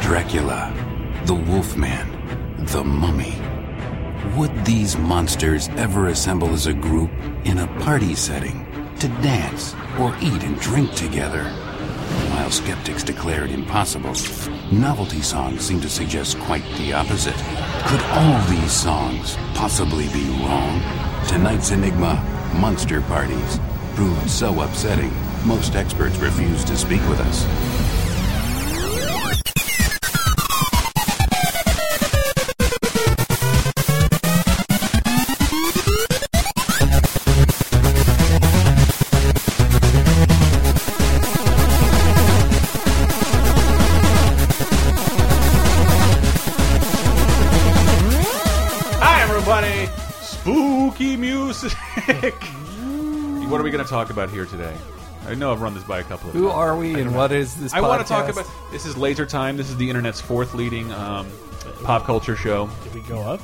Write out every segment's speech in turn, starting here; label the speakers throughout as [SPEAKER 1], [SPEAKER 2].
[SPEAKER 1] Dracula, the Wolfman, the Mummy. Would these monsters ever assemble as a group in a party setting to dance or eat and drink together? While skeptics declare it impossible, novelty songs seem to suggest quite the opposite. Could all these songs possibly be wrong? Tonight's enigma, Monster Parties, proved so upsetting, most experts refused to speak with us.
[SPEAKER 2] Hi, everybody! Spooky music! what are we going to talk about here today? I know I've run this by a couple of
[SPEAKER 3] Who
[SPEAKER 2] times.
[SPEAKER 3] are we and what is this?
[SPEAKER 2] I
[SPEAKER 3] want
[SPEAKER 2] want to talk about this is Laser Time. This is the internet's fourth leading um, pop culture show.
[SPEAKER 4] Did we go up?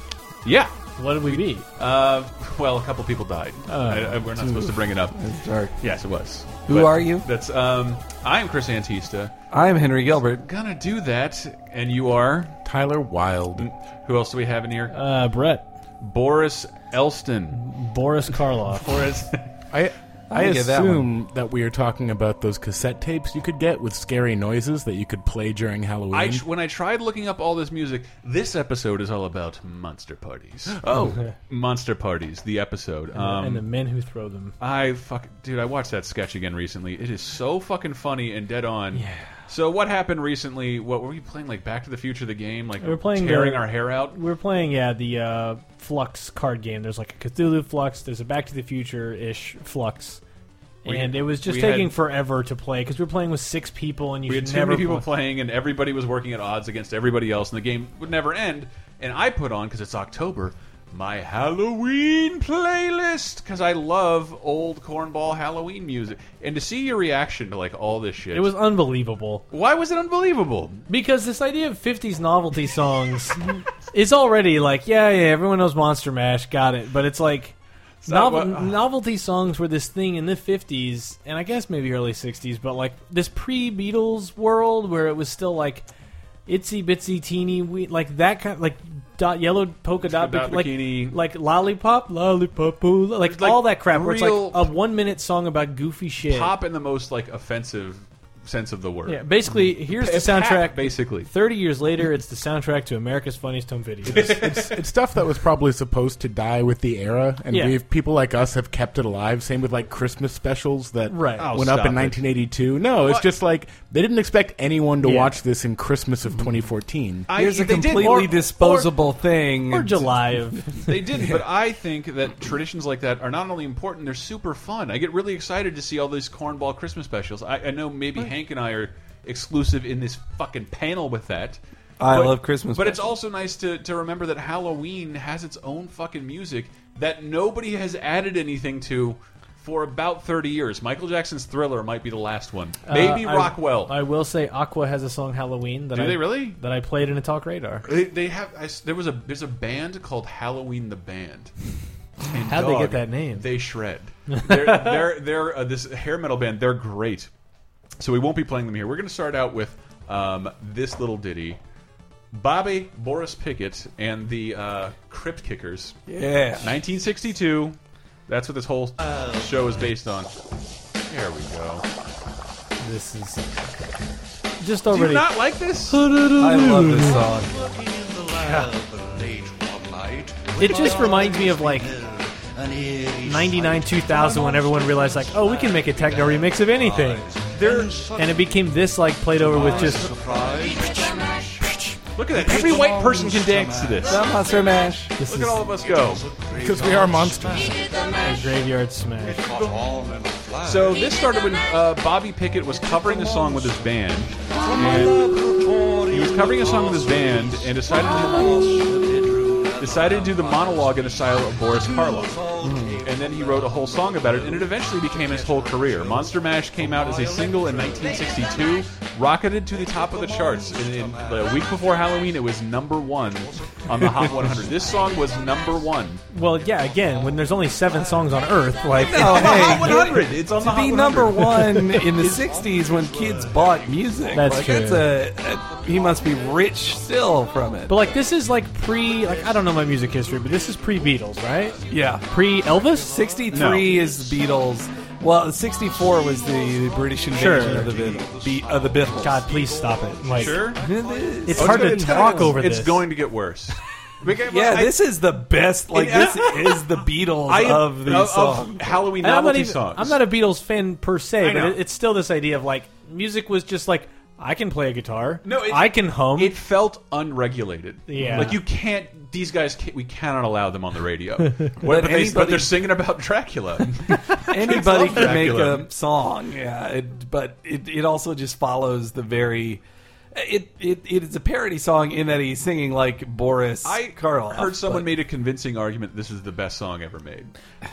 [SPEAKER 2] Yeah.
[SPEAKER 4] What did we beat?
[SPEAKER 2] Uh, well, a couple people died.
[SPEAKER 3] Uh,
[SPEAKER 2] I, I, we're not supposed to bring it up.
[SPEAKER 3] Dark.
[SPEAKER 2] Yes, it was.
[SPEAKER 3] Who are you?
[SPEAKER 2] That's um, I am Chris Antista.
[SPEAKER 3] I'm Henry Gilbert.
[SPEAKER 2] Gonna do that, and you are.
[SPEAKER 5] Tyler Wilde.
[SPEAKER 2] Who else do we have in here?
[SPEAKER 4] Uh, Brett,
[SPEAKER 2] Boris Elston.
[SPEAKER 4] Boris Karloff.
[SPEAKER 2] Boris.
[SPEAKER 5] I I
[SPEAKER 3] I'll give that one.
[SPEAKER 5] assume that, we are talking about those cassette tapes you could get with scary noises that you could play during Halloween.
[SPEAKER 2] I when I tried looking up all this music, this episode is all about monster parties. Oh, monster parties, the episode.
[SPEAKER 4] and the
[SPEAKER 2] Um,
[SPEAKER 4] men who throw them.
[SPEAKER 2] I fuck, dude, I watched that sketch again recently. It is so fucking funny and dead on. Yeah. So what happened recently? What were we playing? Like Back to the Future, the game, like
[SPEAKER 4] were playing
[SPEAKER 2] tearing
[SPEAKER 4] the-
[SPEAKER 2] our hair out.
[SPEAKER 4] We were playing, yeah, the uh, Flux card game. There's like a Cthulhu Flux. There's a Back to the Future ish Flux.
[SPEAKER 2] We-
[SPEAKER 4] and it was just
[SPEAKER 2] we
[SPEAKER 4] taking
[SPEAKER 2] had-
[SPEAKER 4] forever to play because we were playing with six people, and you
[SPEAKER 2] We had
[SPEAKER 4] should
[SPEAKER 2] too
[SPEAKER 4] never
[SPEAKER 2] many people
[SPEAKER 4] play.
[SPEAKER 2] playing, and everybody was working at odds against everybody else, and the game would never end. And I put on because it's October my Halloween playlist because I love old cornball Halloween music. And to see your reaction to like all this shit,
[SPEAKER 4] It was unbelievable
[SPEAKER 2] why was it unbelievable?
[SPEAKER 4] because this idea of '50s novelty songs is already like, yeah, yeah, everyone knows Monster Mash, got it, but it's like.
[SPEAKER 2] not
[SPEAKER 4] novel-
[SPEAKER 2] what-
[SPEAKER 4] novelty songs were this thing in the 50s and i guess maybe early 60s but like this pre-beatles world where it was still like itsy bitsy teeny wee like that kind like dot yellow polka dot,
[SPEAKER 2] Polka dot
[SPEAKER 4] like,
[SPEAKER 2] bikini.
[SPEAKER 4] like lollipop lollipop ooh, like,
[SPEAKER 2] There's, like,
[SPEAKER 4] all that crap where it's
[SPEAKER 2] real
[SPEAKER 4] like a one minute song about goofy shit
[SPEAKER 2] Pop in the most like offensive sense of the word.
[SPEAKER 4] yeah basically here's the
[SPEAKER 2] It's hack,
[SPEAKER 4] soundtrack
[SPEAKER 2] basically.
[SPEAKER 4] 30 years later it's the soundtrack to america's funniest home videos
[SPEAKER 5] it's, it's stuff that was probably supposed to die with the era, and
[SPEAKER 4] Yeah.
[SPEAKER 5] we've people like us have kept it alive. Same with like Christmas specials that
[SPEAKER 4] Right. Oh,
[SPEAKER 5] went up
[SPEAKER 2] stop
[SPEAKER 5] in
[SPEAKER 2] it.
[SPEAKER 5] 1982. No, it's
[SPEAKER 2] What?
[SPEAKER 5] just like they didn't expect anyone to
[SPEAKER 4] Yeah.
[SPEAKER 5] watch this in Christmas of 2014.
[SPEAKER 2] I-
[SPEAKER 3] Here's a
[SPEAKER 2] they did-
[SPEAKER 3] completely
[SPEAKER 2] or- or-
[SPEAKER 3] disposable thing.
[SPEAKER 4] or july of
[SPEAKER 2] They did, but I think that traditions like that are not only important; they're super fun. I get really excited to see all these cornball Christmas specials. I, I know maybe Hank and I are exclusive in this fucking panel with that.
[SPEAKER 3] I love Christmas
[SPEAKER 2] but it's
[SPEAKER 3] specials.
[SPEAKER 2] also nice to to remember that Halloween has its own fucking music that nobody has added anything to. For about thirty years, Michael Jackson's Thriller might be the last one. Maybe
[SPEAKER 4] Uh, I-
[SPEAKER 2] Rockwell.
[SPEAKER 4] I, will say Aqua has a song Halloween that
[SPEAKER 2] Do
[SPEAKER 4] I
[SPEAKER 2] they really?
[SPEAKER 4] that I played in a talk radar.
[SPEAKER 2] They, they have. I s there was a there's a band called Halloween the Band. And
[SPEAKER 4] How'd they
[SPEAKER 2] dog,
[SPEAKER 4] get that name?
[SPEAKER 2] They shred. They're they're, they're uh, this hair metal band. They're great. So we won't be playing them here. We're going to start out with um, this little ditty. Bobby Boris Pickett and the uh, Crypt Kickers,
[SPEAKER 3] yeah.
[SPEAKER 2] 1962. That's what this whole show is based on. There we go.
[SPEAKER 4] This is just
[SPEAKER 2] Do you
[SPEAKER 4] already.
[SPEAKER 2] not like this?
[SPEAKER 3] I love this song.
[SPEAKER 4] It just reminds me of like '99, 2000, when everyone realized like, oh, we can make a techno remix of anything, and it became this like played over with just
[SPEAKER 2] Look at that. Every white person can dance to this.
[SPEAKER 3] That Monster Mash.
[SPEAKER 4] this
[SPEAKER 2] Look
[SPEAKER 4] is
[SPEAKER 2] at all of us go.
[SPEAKER 5] Because we are monsters.
[SPEAKER 4] a graveyard smash.
[SPEAKER 2] So this started when uh, Bobby Pickett was covering a song with his band. And he was covering a song with his band and decided to, decided to do the monologue in the style of Boris Karloff. And then he wrote a whole song about it, and it eventually became his whole career. Monster Mash came out as a single in 1962. rocketed to the top of the charts. And in the week before Halloween, it was number one on the Hot 100. This song was number one.
[SPEAKER 4] Well, yeah. Again, when there's only seven songs on Earth, like
[SPEAKER 3] Oh,
[SPEAKER 2] Hot
[SPEAKER 3] hey.
[SPEAKER 2] 100. It's on the
[SPEAKER 3] To
[SPEAKER 2] Hot
[SPEAKER 3] be
[SPEAKER 2] 100.
[SPEAKER 3] number one in the '60s when kids bought music,
[SPEAKER 4] That's
[SPEAKER 3] like,
[SPEAKER 4] true.
[SPEAKER 3] That's a, that- he must be rich still from it.
[SPEAKER 4] But like this is like pre like I don't know my music history, but this is pre Beatles, right?
[SPEAKER 3] yeah,
[SPEAKER 4] Pre Elvis?
[SPEAKER 3] '63 is the Beatles. Well, '64 was the, the British
[SPEAKER 4] Sure.
[SPEAKER 3] invasion of the Beatles. Be, of the Beatles.
[SPEAKER 4] God, please stop it. Like
[SPEAKER 2] Sure.
[SPEAKER 4] it's
[SPEAKER 2] Oh,
[SPEAKER 4] hard
[SPEAKER 2] gonna-
[SPEAKER 4] to
[SPEAKER 2] it's gonna-
[SPEAKER 4] talk over
[SPEAKER 2] It's
[SPEAKER 4] this.
[SPEAKER 2] going to get worse.
[SPEAKER 3] Yeah, this is the best. Like this is the Beatles
[SPEAKER 2] I
[SPEAKER 3] of these songs.
[SPEAKER 2] Halloween
[SPEAKER 4] And I'm
[SPEAKER 2] novelty
[SPEAKER 4] not even,
[SPEAKER 2] songs.
[SPEAKER 4] I'm not a Beatles fan per se, but
[SPEAKER 2] know.
[SPEAKER 4] it, it's still this idea of like music was just like I can play a guitar.
[SPEAKER 2] No, it-
[SPEAKER 4] I can hum.
[SPEAKER 2] It felt unregulated.
[SPEAKER 4] Yeah.
[SPEAKER 2] like you can't. These guys, can't, we cannot allow them on the radio. What- but, they, but
[SPEAKER 3] anybody-
[SPEAKER 2] they're singing about Dracula.
[SPEAKER 3] Anybody
[SPEAKER 2] love
[SPEAKER 3] can make
[SPEAKER 2] Dracula.
[SPEAKER 3] a song. Yeah, it, but it, it also just follows the very. It, it it is a parody song in that he's singing like Boris
[SPEAKER 2] I
[SPEAKER 3] Karloff.
[SPEAKER 2] heard someone
[SPEAKER 3] but-
[SPEAKER 2] made a convincing argument. This is the best song ever made,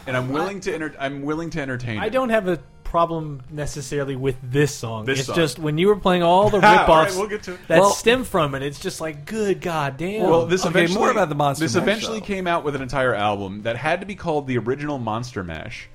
[SPEAKER 2] and I'm willing to. Enter, I'm willing to entertain.
[SPEAKER 4] I
[SPEAKER 2] it.
[SPEAKER 4] don't have a problem necessarily with this song.
[SPEAKER 2] This
[SPEAKER 4] it's
[SPEAKER 2] song.
[SPEAKER 4] just when you were playing all the
[SPEAKER 2] Ha,
[SPEAKER 4] rip-offs
[SPEAKER 2] all right, we'll get to it.
[SPEAKER 4] that
[SPEAKER 3] Well-
[SPEAKER 4] stem from it, it's just like good goddamn.
[SPEAKER 2] Well, this
[SPEAKER 3] Okay,
[SPEAKER 2] eventually,
[SPEAKER 3] more about the Monster
[SPEAKER 2] This
[SPEAKER 3] Mash,
[SPEAKER 2] eventually
[SPEAKER 3] though.
[SPEAKER 2] came out with an entire album that had to be called the original Monster Mash,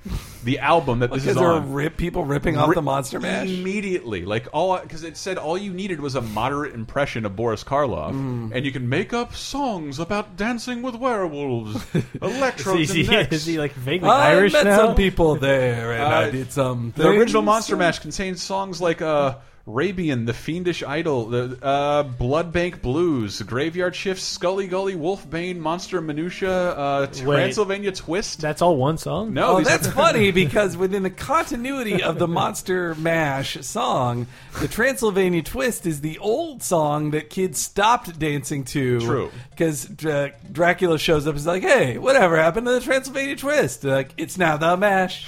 [SPEAKER 2] the album that this is
[SPEAKER 3] because there are
[SPEAKER 2] on.
[SPEAKER 3] rip people ripping off
[SPEAKER 2] Ri-
[SPEAKER 3] the Monster Mash.
[SPEAKER 2] immediately. Like all because it said all you needed was a moderate impression of Boris Karloff,
[SPEAKER 3] Mm.
[SPEAKER 2] and you can make up songs about dancing with werewolves, electro.
[SPEAKER 4] is he, is he like vaguely
[SPEAKER 3] I
[SPEAKER 4] Irish
[SPEAKER 3] met
[SPEAKER 4] now?
[SPEAKER 3] some people there, and
[SPEAKER 2] Uh,
[SPEAKER 3] I did some.
[SPEAKER 2] the original
[SPEAKER 3] things.
[SPEAKER 2] Monster Mash contains songs like uh, Rabian, The Fiendish Idol, the uh, Blood Bank Blues, Graveyard Shifts, Scully Gully, Wolfbane, Monster Minutia, uh, Transylvania Twist.
[SPEAKER 4] That's all one song.
[SPEAKER 2] no,
[SPEAKER 3] Oh,
[SPEAKER 2] these-
[SPEAKER 3] that's funny because within the continuity of the Monster Mash song, the Transylvania Twist is the old song that kids stopped dancing to.
[SPEAKER 2] True.
[SPEAKER 3] Because Dra- Dracula shows up and is like, hey, whatever happened to the Transylvania Twist? They're Like, it's now the Mash.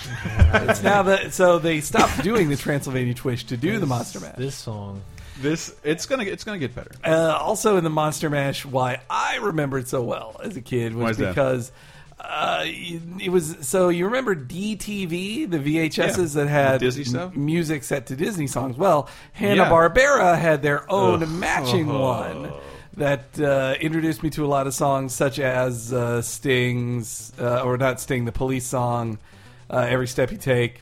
[SPEAKER 3] it's now the. So they stopped doing the Transylvania Twist to do the Monster Mash.
[SPEAKER 4] This song.
[SPEAKER 2] this it's gonna it's gonna get better.
[SPEAKER 3] Uh, also in the Monster Mash, why I remembered so well as a kid
[SPEAKER 2] Why
[SPEAKER 3] was
[SPEAKER 2] is that?
[SPEAKER 3] because uh, it was so you remember DTV, the VHSs that had
[SPEAKER 2] Disney stuff?
[SPEAKER 3] m- music set to Disney songs. Well, Hanna Barbera had their own matching one that uh, introduced me to a lot of songs such as uh, Sting's uh, or not Sting, the Police song, uh, Every Step You Take.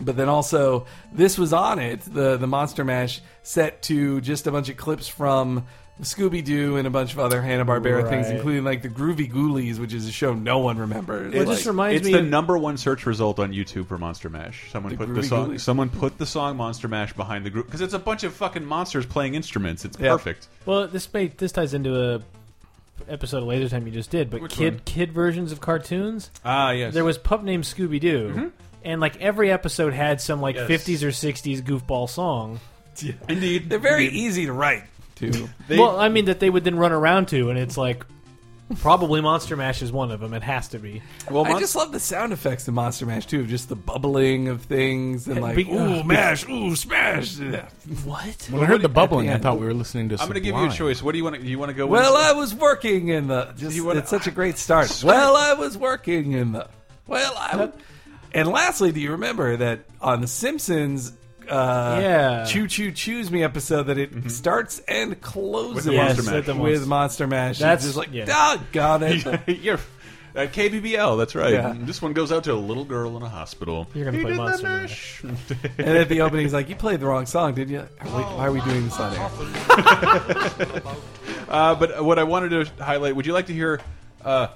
[SPEAKER 3] But then also, this was on it. The the Monster Mash set to just a bunch of clips from Scooby Doo and a bunch of other Hanna Barbera things,
[SPEAKER 4] Right.
[SPEAKER 3] including like the Groovy Ghoulies, which is a show no one remembers.
[SPEAKER 4] Well, it
[SPEAKER 3] Like,
[SPEAKER 4] just reminds
[SPEAKER 2] it's
[SPEAKER 4] me
[SPEAKER 2] the
[SPEAKER 4] of-
[SPEAKER 2] number one search result on YouTube for Monster Mash. Someone
[SPEAKER 3] The
[SPEAKER 2] put the
[SPEAKER 3] Groovy
[SPEAKER 2] song.
[SPEAKER 3] Ghoulies.
[SPEAKER 2] Someone put the song Monster Mash behind the group because it's a bunch of fucking monsters playing instruments. It's
[SPEAKER 3] Yeah.
[SPEAKER 2] perfect.
[SPEAKER 4] Well, this may this ties into a episode of Laser Time you just did, but kid
[SPEAKER 2] one?
[SPEAKER 4] kid versions of cartoons.
[SPEAKER 2] Ah, yes.
[SPEAKER 4] There was Pup Named Scooby Doo, and like every episode had some like
[SPEAKER 2] Mm-hmm. Yes.
[SPEAKER 4] 50s or 60s goofball song.
[SPEAKER 2] indeed.
[SPEAKER 3] they're very easy to write. Too.
[SPEAKER 2] They-
[SPEAKER 4] well, I mean that they would then run around to, and it's like probably Monster Mash is one of them. It has to be.
[SPEAKER 2] well,
[SPEAKER 3] I just love the sound effects in Monster Mash too, of just the bubbling of things and like
[SPEAKER 4] Be-
[SPEAKER 3] ooh mash, ooh smash. Yeah.
[SPEAKER 4] What?
[SPEAKER 5] When I heard the bubbling,
[SPEAKER 3] at the
[SPEAKER 5] I
[SPEAKER 3] end.
[SPEAKER 5] thought we were listening to.
[SPEAKER 2] I'm
[SPEAKER 5] going to
[SPEAKER 2] give you a choice. What do you want? to You want to go? with-
[SPEAKER 3] Well, I was working in the. Just,
[SPEAKER 2] You wanna-
[SPEAKER 3] it's such a great start. Well, I was working in the. Well, I. w- And lastly, do you remember that on The Simpsons? Uh,
[SPEAKER 4] Yeah.
[SPEAKER 3] Choo Choo Choose Me episode that it starts and closes
[SPEAKER 2] the Monster Yes, Mash.
[SPEAKER 3] with,
[SPEAKER 2] with
[SPEAKER 3] Monster.
[SPEAKER 4] the Monster-
[SPEAKER 3] Mash. That's
[SPEAKER 4] That's-
[SPEAKER 3] just like,
[SPEAKER 4] yeah.
[SPEAKER 3] oh, got it.
[SPEAKER 2] you're uh, KBBL. That's right.
[SPEAKER 3] Yeah.
[SPEAKER 2] This one goes out to a little girl in a hospital.
[SPEAKER 4] You're gonna
[SPEAKER 2] He
[SPEAKER 4] play
[SPEAKER 2] did the
[SPEAKER 4] Monster
[SPEAKER 2] mash.
[SPEAKER 3] and at the opening, he's like, you played the wrong song, did you? Are we- why are we doing this on air?
[SPEAKER 2] uh, but what I wanted to highlight. Would you like to hear? Uh,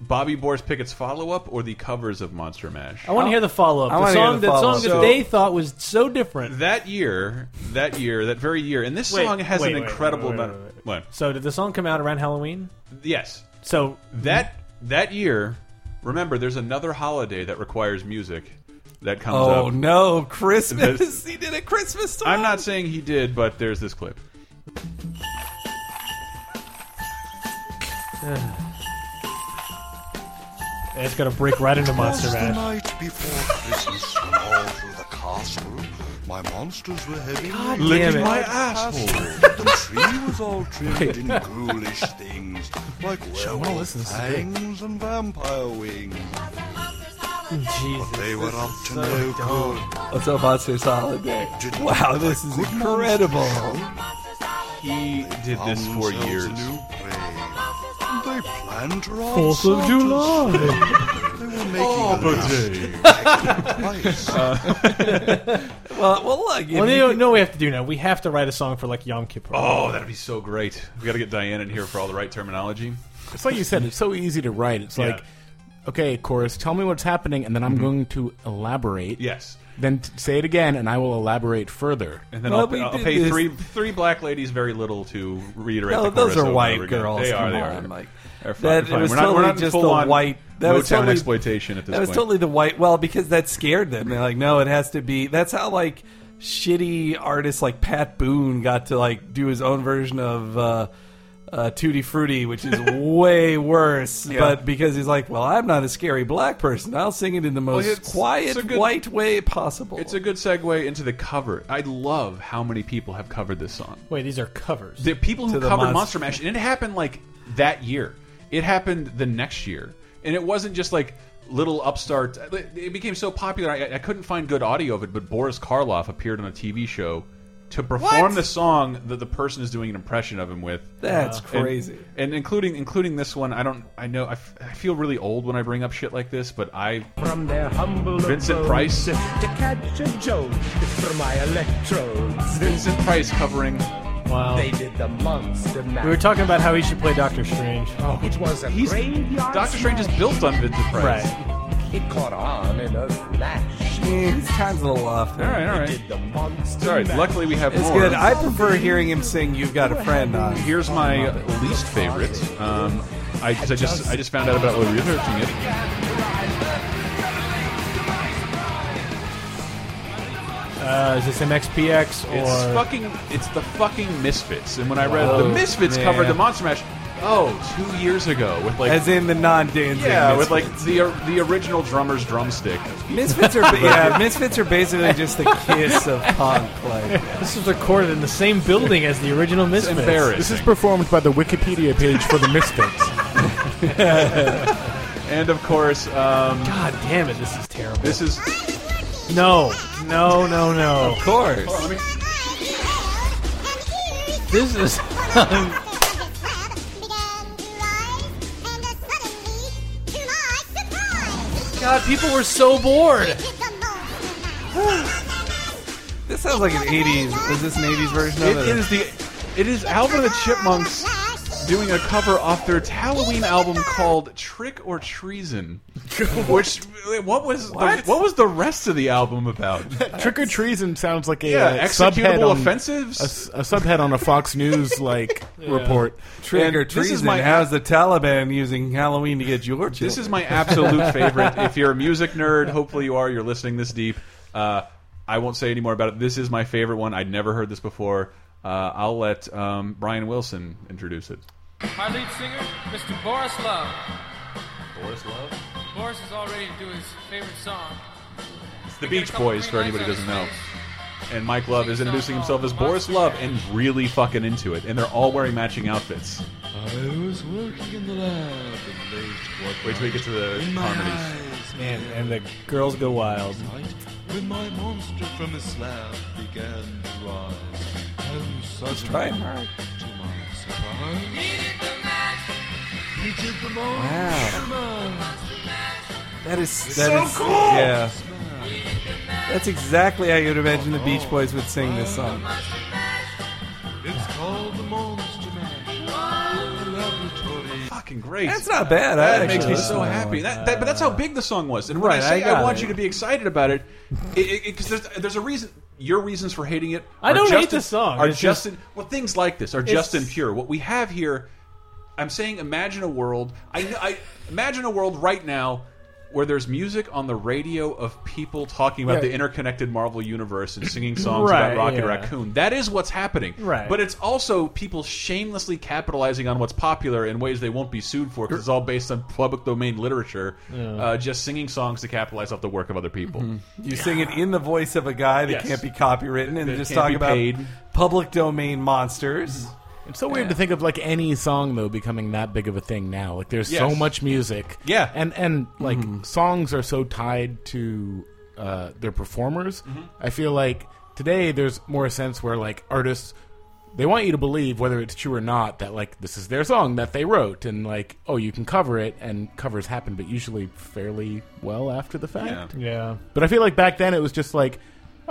[SPEAKER 2] Bobby Boris Pickett's follow-up or the covers of Monster Mash?
[SPEAKER 4] I want to hear the
[SPEAKER 3] I
[SPEAKER 4] follow up. The
[SPEAKER 3] wanna hear
[SPEAKER 4] song
[SPEAKER 3] the
[SPEAKER 4] that song
[SPEAKER 3] follow-up.
[SPEAKER 4] that
[SPEAKER 2] So-
[SPEAKER 4] they thought was so different.
[SPEAKER 2] that year, that year, that very year, and this
[SPEAKER 4] Wait,
[SPEAKER 2] song has
[SPEAKER 4] wait,
[SPEAKER 2] an
[SPEAKER 4] wait,
[SPEAKER 2] incredible
[SPEAKER 4] wait, wait,
[SPEAKER 2] amount.
[SPEAKER 4] wait, wait.
[SPEAKER 2] What?
[SPEAKER 4] So did the song come out around Halloween?
[SPEAKER 2] Yes,
[SPEAKER 4] So
[SPEAKER 2] that that year. Remember, there's another holiday that requires music that comes up.
[SPEAKER 3] Oh, no, Christmas. he did a Christmas song.
[SPEAKER 2] I'm not saying he did, but there's this clip.
[SPEAKER 4] it's gonna break right into Monster
[SPEAKER 6] was the
[SPEAKER 4] Mash.
[SPEAKER 6] night before Christmas when all through the castle my monsters were having God
[SPEAKER 4] it.
[SPEAKER 2] My asshole.
[SPEAKER 6] The tree was all trimmed in ghoulish things like werewolf
[SPEAKER 5] listen to this.
[SPEAKER 6] fangs and vampire wings.
[SPEAKER 7] Lots of monsters all
[SPEAKER 4] Jesus,
[SPEAKER 6] They were up to
[SPEAKER 4] so
[SPEAKER 6] no
[SPEAKER 4] dumb.
[SPEAKER 6] good.
[SPEAKER 3] What's up, Monsters Holiday? Wow, this is incredible.
[SPEAKER 2] He did this for years.
[SPEAKER 6] They planned to rob
[SPEAKER 4] Fourth of
[SPEAKER 6] Santa's.
[SPEAKER 4] July.
[SPEAKER 6] They were making ice.
[SPEAKER 3] Well, well, look. if
[SPEAKER 4] well,
[SPEAKER 3] you
[SPEAKER 4] you know,
[SPEAKER 3] could-
[SPEAKER 4] no, we have to do now. We have to write a song for like Yom Kippur.
[SPEAKER 2] Oh, that'd be so great. We got to get Diane in here for all the right terminology.
[SPEAKER 5] It's like you said, it's so easy to write. It's
[SPEAKER 2] Yeah.
[SPEAKER 5] like, okay, chorus, tell me what's happening, and then I'm going to elaborate.
[SPEAKER 2] Yes.
[SPEAKER 5] Then t- say it again, and I will elaborate further.
[SPEAKER 2] And then
[SPEAKER 3] Well, we
[SPEAKER 2] I'll, I'll
[SPEAKER 3] did
[SPEAKER 2] pay
[SPEAKER 3] this-
[SPEAKER 2] three three black ladies very little to reiterate.
[SPEAKER 3] No,
[SPEAKER 2] the
[SPEAKER 3] those
[SPEAKER 2] chorus
[SPEAKER 3] are
[SPEAKER 2] over and
[SPEAKER 3] white
[SPEAKER 2] over again.
[SPEAKER 3] girls.
[SPEAKER 2] They are.
[SPEAKER 3] Come
[SPEAKER 2] They
[SPEAKER 3] on,
[SPEAKER 2] are.
[SPEAKER 3] Like
[SPEAKER 2] They're fucking
[SPEAKER 3] that,
[SPEAKER 2] fine.
[SPEAKER 3] it was
[SPEAKER 2] We're not- we're
[SPEAKER 3] totally
[SPEAKER 2] not in
[SPEAKER 3] just the
[SPEAKER 2] full-on
[SPEAKER 3] white. That was
[SPEAKER 2] Motown
[SPEAKER 3] totally
[SPEAKER 2] exploitation at this
[SPEAKER 3] That was
[SPEAKER 2] point.
[SPEAKER 3] totally the white. Well, because that scared them. They're like, no, it has to be. That's how like shitty artists like Pat Boone got to like do his own version of. uh uh, Tutti Frutti, which is way worse, but because he's like, well, I'm not a scary black person. I'll sing it in the most
[SPEAKER 2] it's-
[SPEAKER 3] quiet,
[SPEAKER 2] it's a good-
[SPEAKER 3] white way possible.
[SPEAKER 2] It's a good segue into the cover. I love how many people have covered this song.
[SPEAKER 4] Wait, these are covers.
[SPEAKER 2] The people who
[SPEAKER 3] To the
[SPEAKER 2] covered Monster
[SPEAKER 3] monster-
[SPEAKER 2] Mash, and it happened like that year. It happened the next year, and it wasn't just like little upstart. It became so popular, I, I couldn't find good audio of it. But Boris Karloff appeared on a TV show to perform
[SPEAKER 3] What?
[SPEAKER 2] the song that the person is doing an impression of him with.
[SPEAKER 7] Uh.
[SPEAKER 3] That's
[SPEAKER 2] And-
[SPEAKER 3] crazy.
[SPEAKER 2] And, including including this one, I don't. I know. I, f I feel really old when I bring up shit like this, but I
[SPEAKER 7] from their humble
[SPEAKER 2] Vincent
[SPEAKER 7] abode
[SPEAKER 2] Price.
[SPEAKER 7] to catch a jolt from my electrodes.
[SPEAKER 2] Vincent Price covering.
[SPEAKER 4] wow.
[SPEAKER 7] They did the monster mash.
[SPEAKER 4] We were talking about how he should play Doctor Strange.
[SPEAKER 2] Oh,
[SPEAKER 7] It was a
[SPEAKER 2] He's
[SPEAKER 7] graveyard
[SPEAKER 2] Doctor Strange is
[SPEAKER 7] smash.
[SPEAKER 2] built on Vincent Price.
[SPEAKER 4] Right.
[SPEAKER 7] It caught on in a flash.
[SPEAKER 3] Eh, his time's a little off.
[SPEAKER 2] All right. All right.
[SPEAKER 7] Did the monster
[SPEAKER 2] Sorry.
[SPEAKER 7] mash.
[SPEAKER 2] Luckily, we have
[SPEAKER 3] It's
[SPEAKER 2] more.
[SPEAKER 3] good. I prefer hearing him sing "You've Got a Friend" on.
[SPEAKER 2] Here's my least favorite. Um, I, 'cause I just I just found out about it while researching it.
[SPEAKER 4] Uh, is this MXPX or?
[SPEAKER 2] It's fucking it's the fucking Misfits. And when I read the
[SPEAKER 4] Whoa,
[SPEAKER 2] Misfits
[SPEAKER 3] man.
[SPEAKER 2] covered the Monster Mash, oh, two years ago with like
[SPEAKER 3] As in the non-dancing.
[SPEAKER 2] yeah with
[SPEAKER 3] Misfits.
[SPEAKER 2] like the the original drummer's drumstick.
[SPEAKER 3] Misfits are yeah, Misfits are basically just the kiss of punk. Like
[SPEAKER 4] this was recorded in the same building as the original
[SPEAKER 2] It's
[SPEAKER 4] Misfits.
[SPEAKER 5] This is
[SPEAKER 2] embarrassing.
[SPEAKER 5] performed by the Wikipedia page for the Misfits.
[SPEAKER 2] And of course, um,
[SPEAKER 4] God damn it! This is terrible.
[SPEAKER 2] this is
[SPEAKER 4] no, no, no, no.
[SPEAKER 3] of course.
[SPEAKER 4] This is. um, God, people were so bored.
[SPEAKER 3] This sounds like an '80s. Is this an '80s version
[SPEAKER 2] it
[SPEAKER 3] of it?
[SPEAKER 2] is the it is Alvin and the Chipmunks doing a cover off their Halloween album called Trick or Treason. Which what was
[SPEAKER 3] What?
[SPEAKER 2] The, what was the rest of the album about?
[SPEAKER 5] Trick or treason sounds like a
[SPEAKER 2] Yeah,
[SPEAKER 5] uh, subhead
[SPEAKER 2] executable
[SPEAKER 5] on-
[SPEAKER 2] offensives.
[SPEAKER 5] A, s- a subhead on a Fox News like report.
[SPEAKER 3] Trick or
[SPEAKER 2] and this is
[SPEAKER 3] treason.
[SPEAKER 2] my-
[SPEAKER 3] How's the Taliban using Halloween to get your children?
[SPEAKER 2] This is my absolute favorite. If you're a music nerd, hopefully you are. You're listening this deep. Uh, I won't say any more about it. This is my favorite one. I'd never heard this before. Uh, I'll let um, Brian Wilson introduce it.
[SPEAKER 8] My lead singer, Mr. Boris Love.
[SPEAKER 2] Boris Love.
[SPEAKER 8] Boris is all ready to do his favorite song.
[SPEAKER 2] It's the Beach Boys for anybody who doesn't know. And Mike Love is introducing himself as Boris Love and really fucking into it. And they're all wearing matching outfits.
[SPEAKER 6] I was working in the lab and late
[SPEAKER 2] Wait till we get to the
[SPEAKER 6] one
[SPEAKER 2] harmonies.
[SPEAKER 4] Man, and the girls go wild.
[SPEAKER 6] night when my monster from his slab began to rise. And
[SPEAKER 3] try
[SPEAKER 6] suddenly,
[SPEAKER 3] hard.
[SPEAKER 6] to my surprise, he did the monster mash.
[SPEAKER 3] That is that is Yeah. That's exactly how you'd imagine the Beach Boys would sing this song.
[SPEAKER 6] It's called the monster mash. The laboratory.
[SPEAKER 2] Fucking great.
[SPEAKER 3] That's not bad. I
[SPEAKER 2] That
[SPEAKER 3] actually
[SPEAKER 2] makes me
[SPEAKER 3] like
[SPEAKER 2] so
[SPEAKER 3] that
[SPEAKER 2] happy.
[SPEAKER 3] one.
[SPEAKER 2] That, that, but that's how big the song was. And when
[SPEAKER 3] Right,
[SPEAKER 2] I say
[SPEAKER 3] I got
[SPEAKER 2] I, want
[SPEAKER 3] it.
[SPEAKER 2] you to be excited about it, because there's, there's a reason your reasons for hating it.
[SPEAKER 4] I
[SPEAKER 2] are
[SPEAKER 4] don't
[SPEAKER 2] just
[SPEAKER 4] hate the
[SPEAKER 2] in-
[SPEAKER 4] song.
[SPEAKER 2] Are
[SPEAKER 4] It's
[SPEAKER 2] just
[SPEAKER 4] just-
[SPEAKER 2] in, well things like this are just
[SPEAKER 4] It's-
[SPEAKER 2] impure. What we have here, I'm saying, imagine a world. I, kn- I imagine a world right now. Where there's music on the radio of people talking about
[SPEAKER 4] Yeah.
[SPEAKER 2] the interconnected Marvel universe and singing songs
[SPEAKER 4] Right,
[SPEAKER 2] about Rocket
[SPEAKER 4] yeah.
[SPEAKER 2] Raccoon. That is what's happening.
[SPEAKER 4] Right.
[SPEAKER 2] But it's also people shamelessly capitalizing on what's popular in ways they won't be sued for because it's all based on public domain literature, uh, just singing songs to capitalize off the work of other people.
[SPEAKER 3] You sing it in the voice of a guy that
[SPEAKER 2] Yes.
[SPEAKER 3] can't be copywritten and
[SPEAKER 2] That
[SPEAKER 3] just
[SPEAKER 2] can't
[SPEAKER 3] talk
[SPEAKER 2] be
[SPEAKER 3] about
[SPEAKER 2] paid.
[SPEAKER 3] public domain monsters.
[SPEAKER 5] It's so weird to think of like any song though becoming that big of a thing now. Like there's so
[SPEAKER 2] Yes.
[SPEAKER 5] much music.
[SPEAKER 2] Yeah. Mm-hmm.
[SPEAKER 5] And and like songs are so tied to uh, their performers.
[SPEAKER 2] Mm-hmm.
[SPEAKER 5] I feel like today there's more a sense where like artists they want you to believe whether it's true or not that like this is their song that they wrote and like oh you can cover it and covers happen but usually fairly well after the fact.
[SPEAKER 2] Yeah.
[SPEAKER 4] Yeah.
[SPEAKER 5] But I feel like back then it was just like,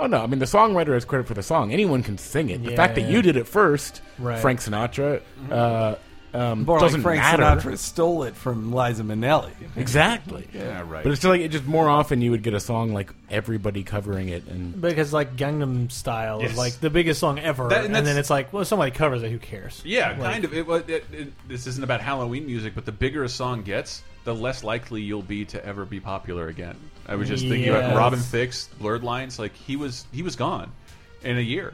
[SPEAKER 5] oh no, I mean the songwriter has credit for the song. Anyone can sing it. The
[SPEAKER 4] Yeah.
[SPEAKER 5] fact that you did it first,
[SPEAKER 4] Right.
[SPEAKER 5] Frank Sinatra,
[SPEAKER 2] Mm-hmm.
[SPEAKER 5] uh, um,
[SPEAKER 3] More like
[SPEAKER 5] doesn't
[SPEAKER 3] Frank
[SPEAKER 5] matter.
[SPEAKER 3] Sinatra stole it from Liza Minnelli.
[SPEAKER 5] Exactly.
[SPEAKER 2] Yeah, right.
[SPEAKER 5] But it's just like it just more often you would get a song like everybody covering it and
[SPEAKER 4] Because like Gangnam Style
[SPEAKER 2] Yes.
[SPEAKER 4] is like the biggest song ever,
[SPEAKER 2] That- and
[SPEAKER 4] and,
[SPEAKER 2] that's-
[SPEAKER 4] then it's like, well, somebody covers it. Who cares?
[SPEAKER 2] Yeah,
[SPEAKER 4] Like,
[SPEAKER 2] kind of. It, wa- it, it, this isn't about Halloween music, but the bigger a song gets, the less likely you'll be to ever be popular again. I was just thinking about
[SPEAKER 4] Yes.
[SPEAKER 2] Robin Thicke's Blurred Lines. Like he was, he was gone in a year.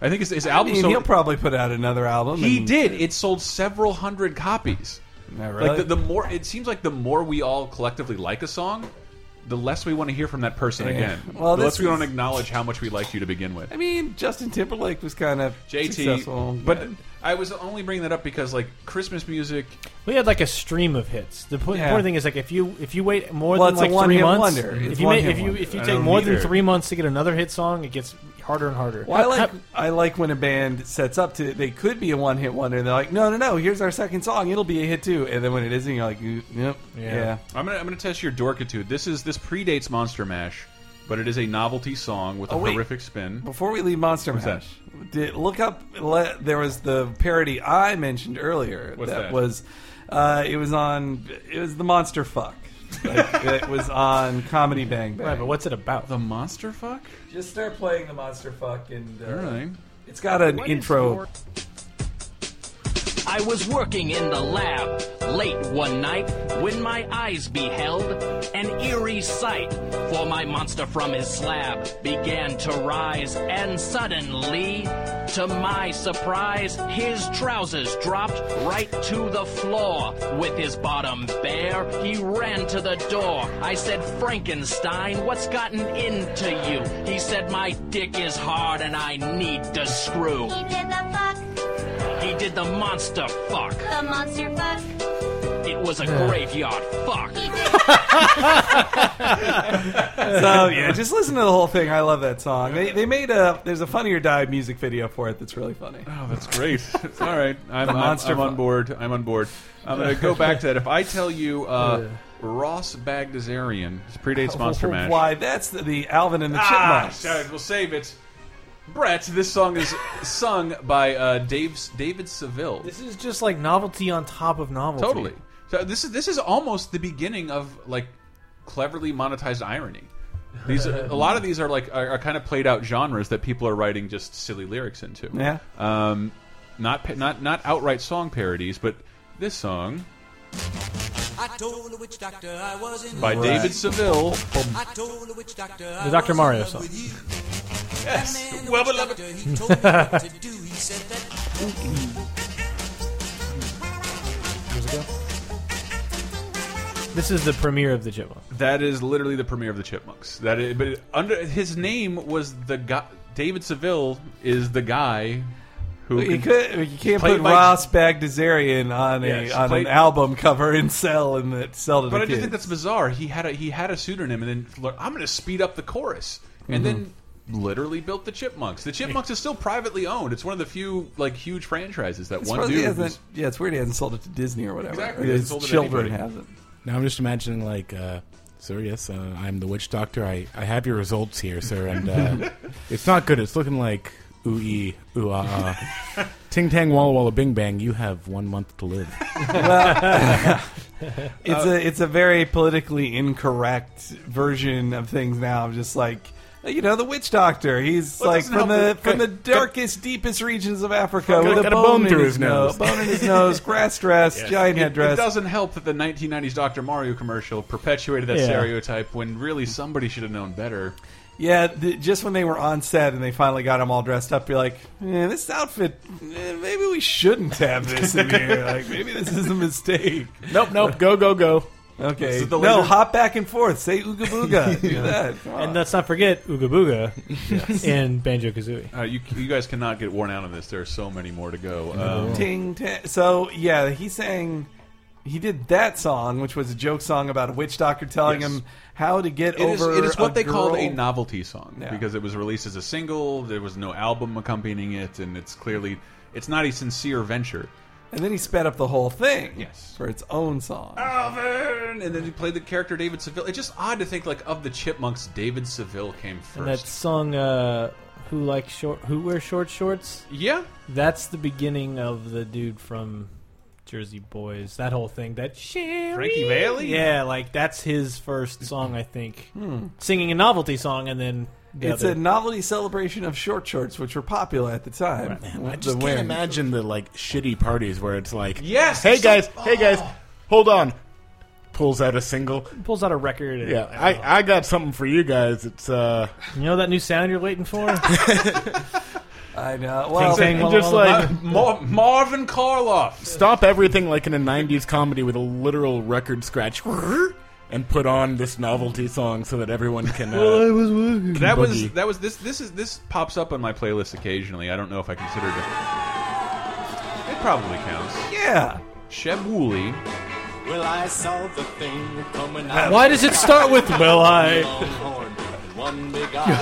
[SPEAKER 2] I think his, his
[SPEAKER 3] I
[SPEAKER 2] album.
[SPEAKER 3] mean, he'll
[SPEAKER 2] sold,
[SPEAKER 3] probably put out another album.
[SPEAKER 2] he
[SPEAKER 3] and-
[SPEAKER 2] did. It sold several hundred copies.
[SPEAKER 3] Mm-hmm. Yeah,
[SPEAKER 2] Like
[SPEAKER 3] really?
[SPEAKER 2] the, the more, it seems like the more we all collectively like a song. The less we want to hear from that person again.
[SPEAKER 3] Well,
[SPEAKER 2] the
[SPEAKER 3] this
[SPEAKER 2] less we
[SPEAKER 3] is-
[SPEAKER 2] want to acknowledge how much we liked you to begin with.
[SPEAKER 3] I mean, Justin Timberlake was kind of
[SPEAKER 2] JT,
[SPEAKER 3] successful,
[SPEAKER 2] but I was only bringing that up because like Christmas music
[SPEAKER 4] We had like a stream of hits. The po-
[SPEAKER 3] Yeah.
[SPEAKER 4] important thing is like if you if you wait more
[SPEAKER 3] Well,
[SPEAKER 4] than
[SPEAKER 3] it's a
[SPEAKER 4] like
[SPEAKER 3] one-hit
[SPEAKER 4] three months,
[SPEAKER 3] wonder. It's
[SPEAKER 4] if you
[SPEAKER 3] one-hit
[SPEAKER 4] if you
[SPEAKER 3] wonder.
[SPEAKER 4] if you
[SPEAKER 2] I
[SPEAKER 4] take
[SPEAKER 2] don't
[SPEAKER 4] more
[SPEAKER 2] either.
[SPEAKER 4] than three months to get another hit song, it gets harder and harder.
[SPEAKER 3] Well, I like I like when a band sets up to they could be a one hit wonder. and They're like, no, no, no. Here's our second song. It'll be a hit too. And then when it isn't, you're like, "Nope, yeah. yeah.
[SPEAKER 2] I'm gonna I'm gonna test your dorkitude. This is this predates Monster Mash, but it is a novelty song with a
[SPEAKER 3] Oh, wait.
[SPEAKER 2] horrific spin.
[SPEAKER 3] Before we leave Monster Mash, did, look up. Le, there was the parody I mentioned earlier.
[SPEAKER 2] What's that?
[SPEAKER 3] was. Uh, it was on. It was the Monster Fuck. Like, it was on Comedy Bang Bang.
[SPEAKER 4] Right, but what's it about?
[SPEAKER 2] The monster fuck?
[SPEAKER 3] Just start playing the Monster Fuck, and uh,
[SPEAKER 2] All right.
[SPEAKER 3] it's got an intro.
[SPEAKER 9] I was working in the lab late one night when my eyes beheld an eerie sight. For my monster from his slab began to rise, and suddenly, to my surprise, his trousers dropped right to the floor. With his bottom bare, he ran to the door. I said, Frankenstein, what's gotten into you? He said, My dick is hard and I need to screw.
[SPEAKER 10] He did the fuck,
[SPEAKER 9] He did the monster fuck.
[SPEAKER 10] the monster fuck.
[SPEAKER 9] It was a graveyard fuck.
[SPEAKER 10] He did the
[SPEAKER 3] So yeah, just listen to the whole thing. I love that song. They, they made a there's a Funny or Die music video for it that's really funny.
[SPEAKER 2] Oh, that's great. All right, I'm, I'm,
[SPEAKER 3] monster
[SPEAKER 2] I'm on
[SPEAKER 3] fuck.
[SPEAKER 2] board. I'm on board. I'm gonna go back to that. If I tell you uh, Ross Bagdasarian, this predates Monster Mash.
[SPEAKER 3] Why? That's the, the Alvin and the
[SPEAKER 2] Ah,
[SPEAKER 3] Chipmunks.
[SPEAKER 2] shout it. We'll save it. Brett, this song is sung by uh, Dave David Seville.
[SPEAKER 4] This is just like novelty on top of novelty.
[SPEAKER 2] Totally. So this is this is almost the beginning of like cleverly monetized irony. These are, a lot of these are like are, are kind of played out genres that people are writing just silly lyrics into.
[SPEAKER 3] Yeah.
[SPEAKER 2] Um, not pa- not not outright song parodies, but this song
[SPEAKER 9] I told the witch doctor I was in
[SPEAKER 2] by David Seville.
[SPEAKER 9] I told the witch doctor
[SPEAKER 4] The Dr. Mario song.
[SPEAKER 2] Yes. Well beloved.
[SPEAKER 9] he told me what to do. He said that
[SPEAKER 4] This is the premiere of the Chipmunk.
[SPEAKER 2] That is literally the premiere of the Chipmunks. That is, but under his name was the guy. David Seville is the guy who
[SPEAKER 3] You,
[SPEAKER 2] can-
[SPEAKER 3] could, you can't
[SPEAKER 2] Played
[SPEAKER 3] put
[SPEAKER 2] by-
[SPEAKER 3] Ross Bagdasarian on a
[SPEAKER 2] Yes,
[SPEAKER 3] on
[SPEAKER 2] played-
[SPEAKER 3] an album cover and sell and that sell to
[SPEAKER 2] But
[SPEAKER 3] the
[SPEAKER 2] I just
[SPEAKER 3] kids.
[SPEAKER 2] think that's bizarre. He had a he had a pseudonym, and then le- I'm going to speed up the chorus, and then
[SPEAKER 3] Mm-hmm.
[SPEAKER 2] literally built the Chipmunks. The Chipmunks is still privately owned. It's one of the few like huge franchises that
[SPEAKER 3] It's
[SPEAKER 2] one
[SPEAKER 3] probably- he
[SPEAKER 2] dude.
[SPEAKER 3] hasn't-
[SPEAKER 2] was-
[SPEAKER 3] yeah, it's weird he hasn't sold it to Disney or whatever.
[SPEAKER 2] Exactly, he hasn't
[SPEAKER 3] His
[SPEAKER 2] sold it to
[SPEAKER 3] children
[SPEAKER 2] anybody.
[SPEAKER 3] haven't.
[SPEAKER 5] now I'm just imagining like uh Sir, yes, uh, I'm the witch doctor. I, I have your results here, sir, and uh, it's not good. It's looking like ooh ee, ooh ah ah. Ting tang, walla walla, bing bang. You have one month to live.
[SPEAKER 2] Uh,
[SPEAKER 3] It's a it's a very politically incorrect version of things now. I'm just like you know the witch doctor. He's
[SPEAKER 2] Well, it
[SPEAKER 3] like
[SPEAKER 2] doesn't
[SPEAKER 3] from the
[SPEAKER 2] help that-
[SPEAKER 3] from the
[SPEAKER 2] got-
[SPEAKER 3] darkest, deepest regions of Africa with
[SPEAKER 5] got a bone through his nose.
[SPEAKER 3] bone in his nose, grass dress, giant
[SPEAKER 2] it, it
[SPEAKER 3] headdress.
[SPEAKER 2] doesn't help that the 1990s Dr. Mario commercial perpetuated that
[SPEAKER 4] Yeah.
[SPEAKER 2] stereotype when really somebody should have known better.
[SPEAKER 3] yeah, th- just when they were on set and they finally got him all dressed up, you're like, eh, this outfit. eh, maybe we shouldn't have this in here. like maybe this is a mistake.
[SPEAKER 5] nope, nope. Go, go, go.
[SPEAKER 3] Okay.
[SPEAKER 2] This is the
[SPEAKER 3] no,
[SPEAKER 2] laser-
[SPEAKER 3] hop back and forth. Say ooga booga. Do that. Come on.
[SPEAKER 4] And let's not forget Ooga Booga and Banjo Kazooie.
[SPEAKER 2] Uh, you, you guys cannot get worn out on this. There are so many more to go. Um,
[SPEAKER 3] Ting tang. So yeah, he sang. He did that song, which was a joke song about a witch doctor telling
[SPEAKER 2] Yes.
[SPEAKER 3] him how to get
[SPEAKER 2] it is,
[SPEAKER 3] over.
[SPEAKER 2] it is what
[SPEAKER 3] a
[SPEAKER 2] they called
[SPEAKER 3] girl.
[SPEAKER 2] a novelty song
[SPEAKER 3] Yeah.
[SPEAKER 2] because it was released as a single. There was no album accompanying it, and it's clearly it's not a sincere venture.
[SPEAKER 3] And then he sped up the whole thing.
[SPEAKER 2] Yes.
[SPEAKER 3] For its own song.
[SPEAKER 2] Alvin, and then he played the character David Seville. It's just odd to think like of the Chipmunks, David Seville came
[SPEAKER 4] And that
[SPEAKER 2] first.
[SPEAKER 4] song, uh, "Who Likes Short, Who Wears Short Shorts,"
[SPEAKER 2] Yeah,
[SPEAKER 4] that's the beginning of the dude from Jersey Boys. That whole thing. That Sherry.
[SPEAKER 2] Frankie Valli?
[SPEAKER 4] Yeah, like that's his first song, I think.
[SPEAKER 2] Hmm.
[SPEAKER 4] Singing a novelty song, and then the
[SPEAKER 3] It's
[SPEAKER 4] other-
[SPEAKER 3] a novelty celebration of short shorts, which were popular at the time.
[SPEAKER 5] I
[SPEAKER 3] The
[SPEAKER 5] just can't
[SPEAKER 3] wind.
[SPEAKER 5] imagine the like shitty parties where it's like,
[SPEAKER 2] Yes,
[SPEAKER 5] hey
[SPEAKER 2] it's
[SPEAKER 5] guys, hey guys, hold on. Pulls out a single.
[SPEAKER 4] pulls out a record. And,
[SPEAKER 5] Yeah, I, I got something for you guys. It's uh,
[SPEAKER 4] you know that new sound you're waiting for.
[SPEAKER 3] I know. Well,
[SPEAKER 4] Ting, ting.
[SPEAKER 5] and just like
[SPEAKER 2] Uh, Mar- Marvin Karloff.
[SPEAKER 5] stop everything like in a '90s comedy with a literal record scratch, and put on this novelty song so that everyone can. Uh, can
[SPEAKER 2] That was
[SPEAKER 5] boogie.
[SPEAKER 2] that was this this is this pops up on my playlist occasionally. I don't know if I consider it. It probably counts.
[SPEAKER 3] yeah.
[SPEAKER 2] Sheb Woolley.
[SPEAKER 10] Well, I saw the thing coming out.
[SPEAKER 4] Why does it start with "Well, I"?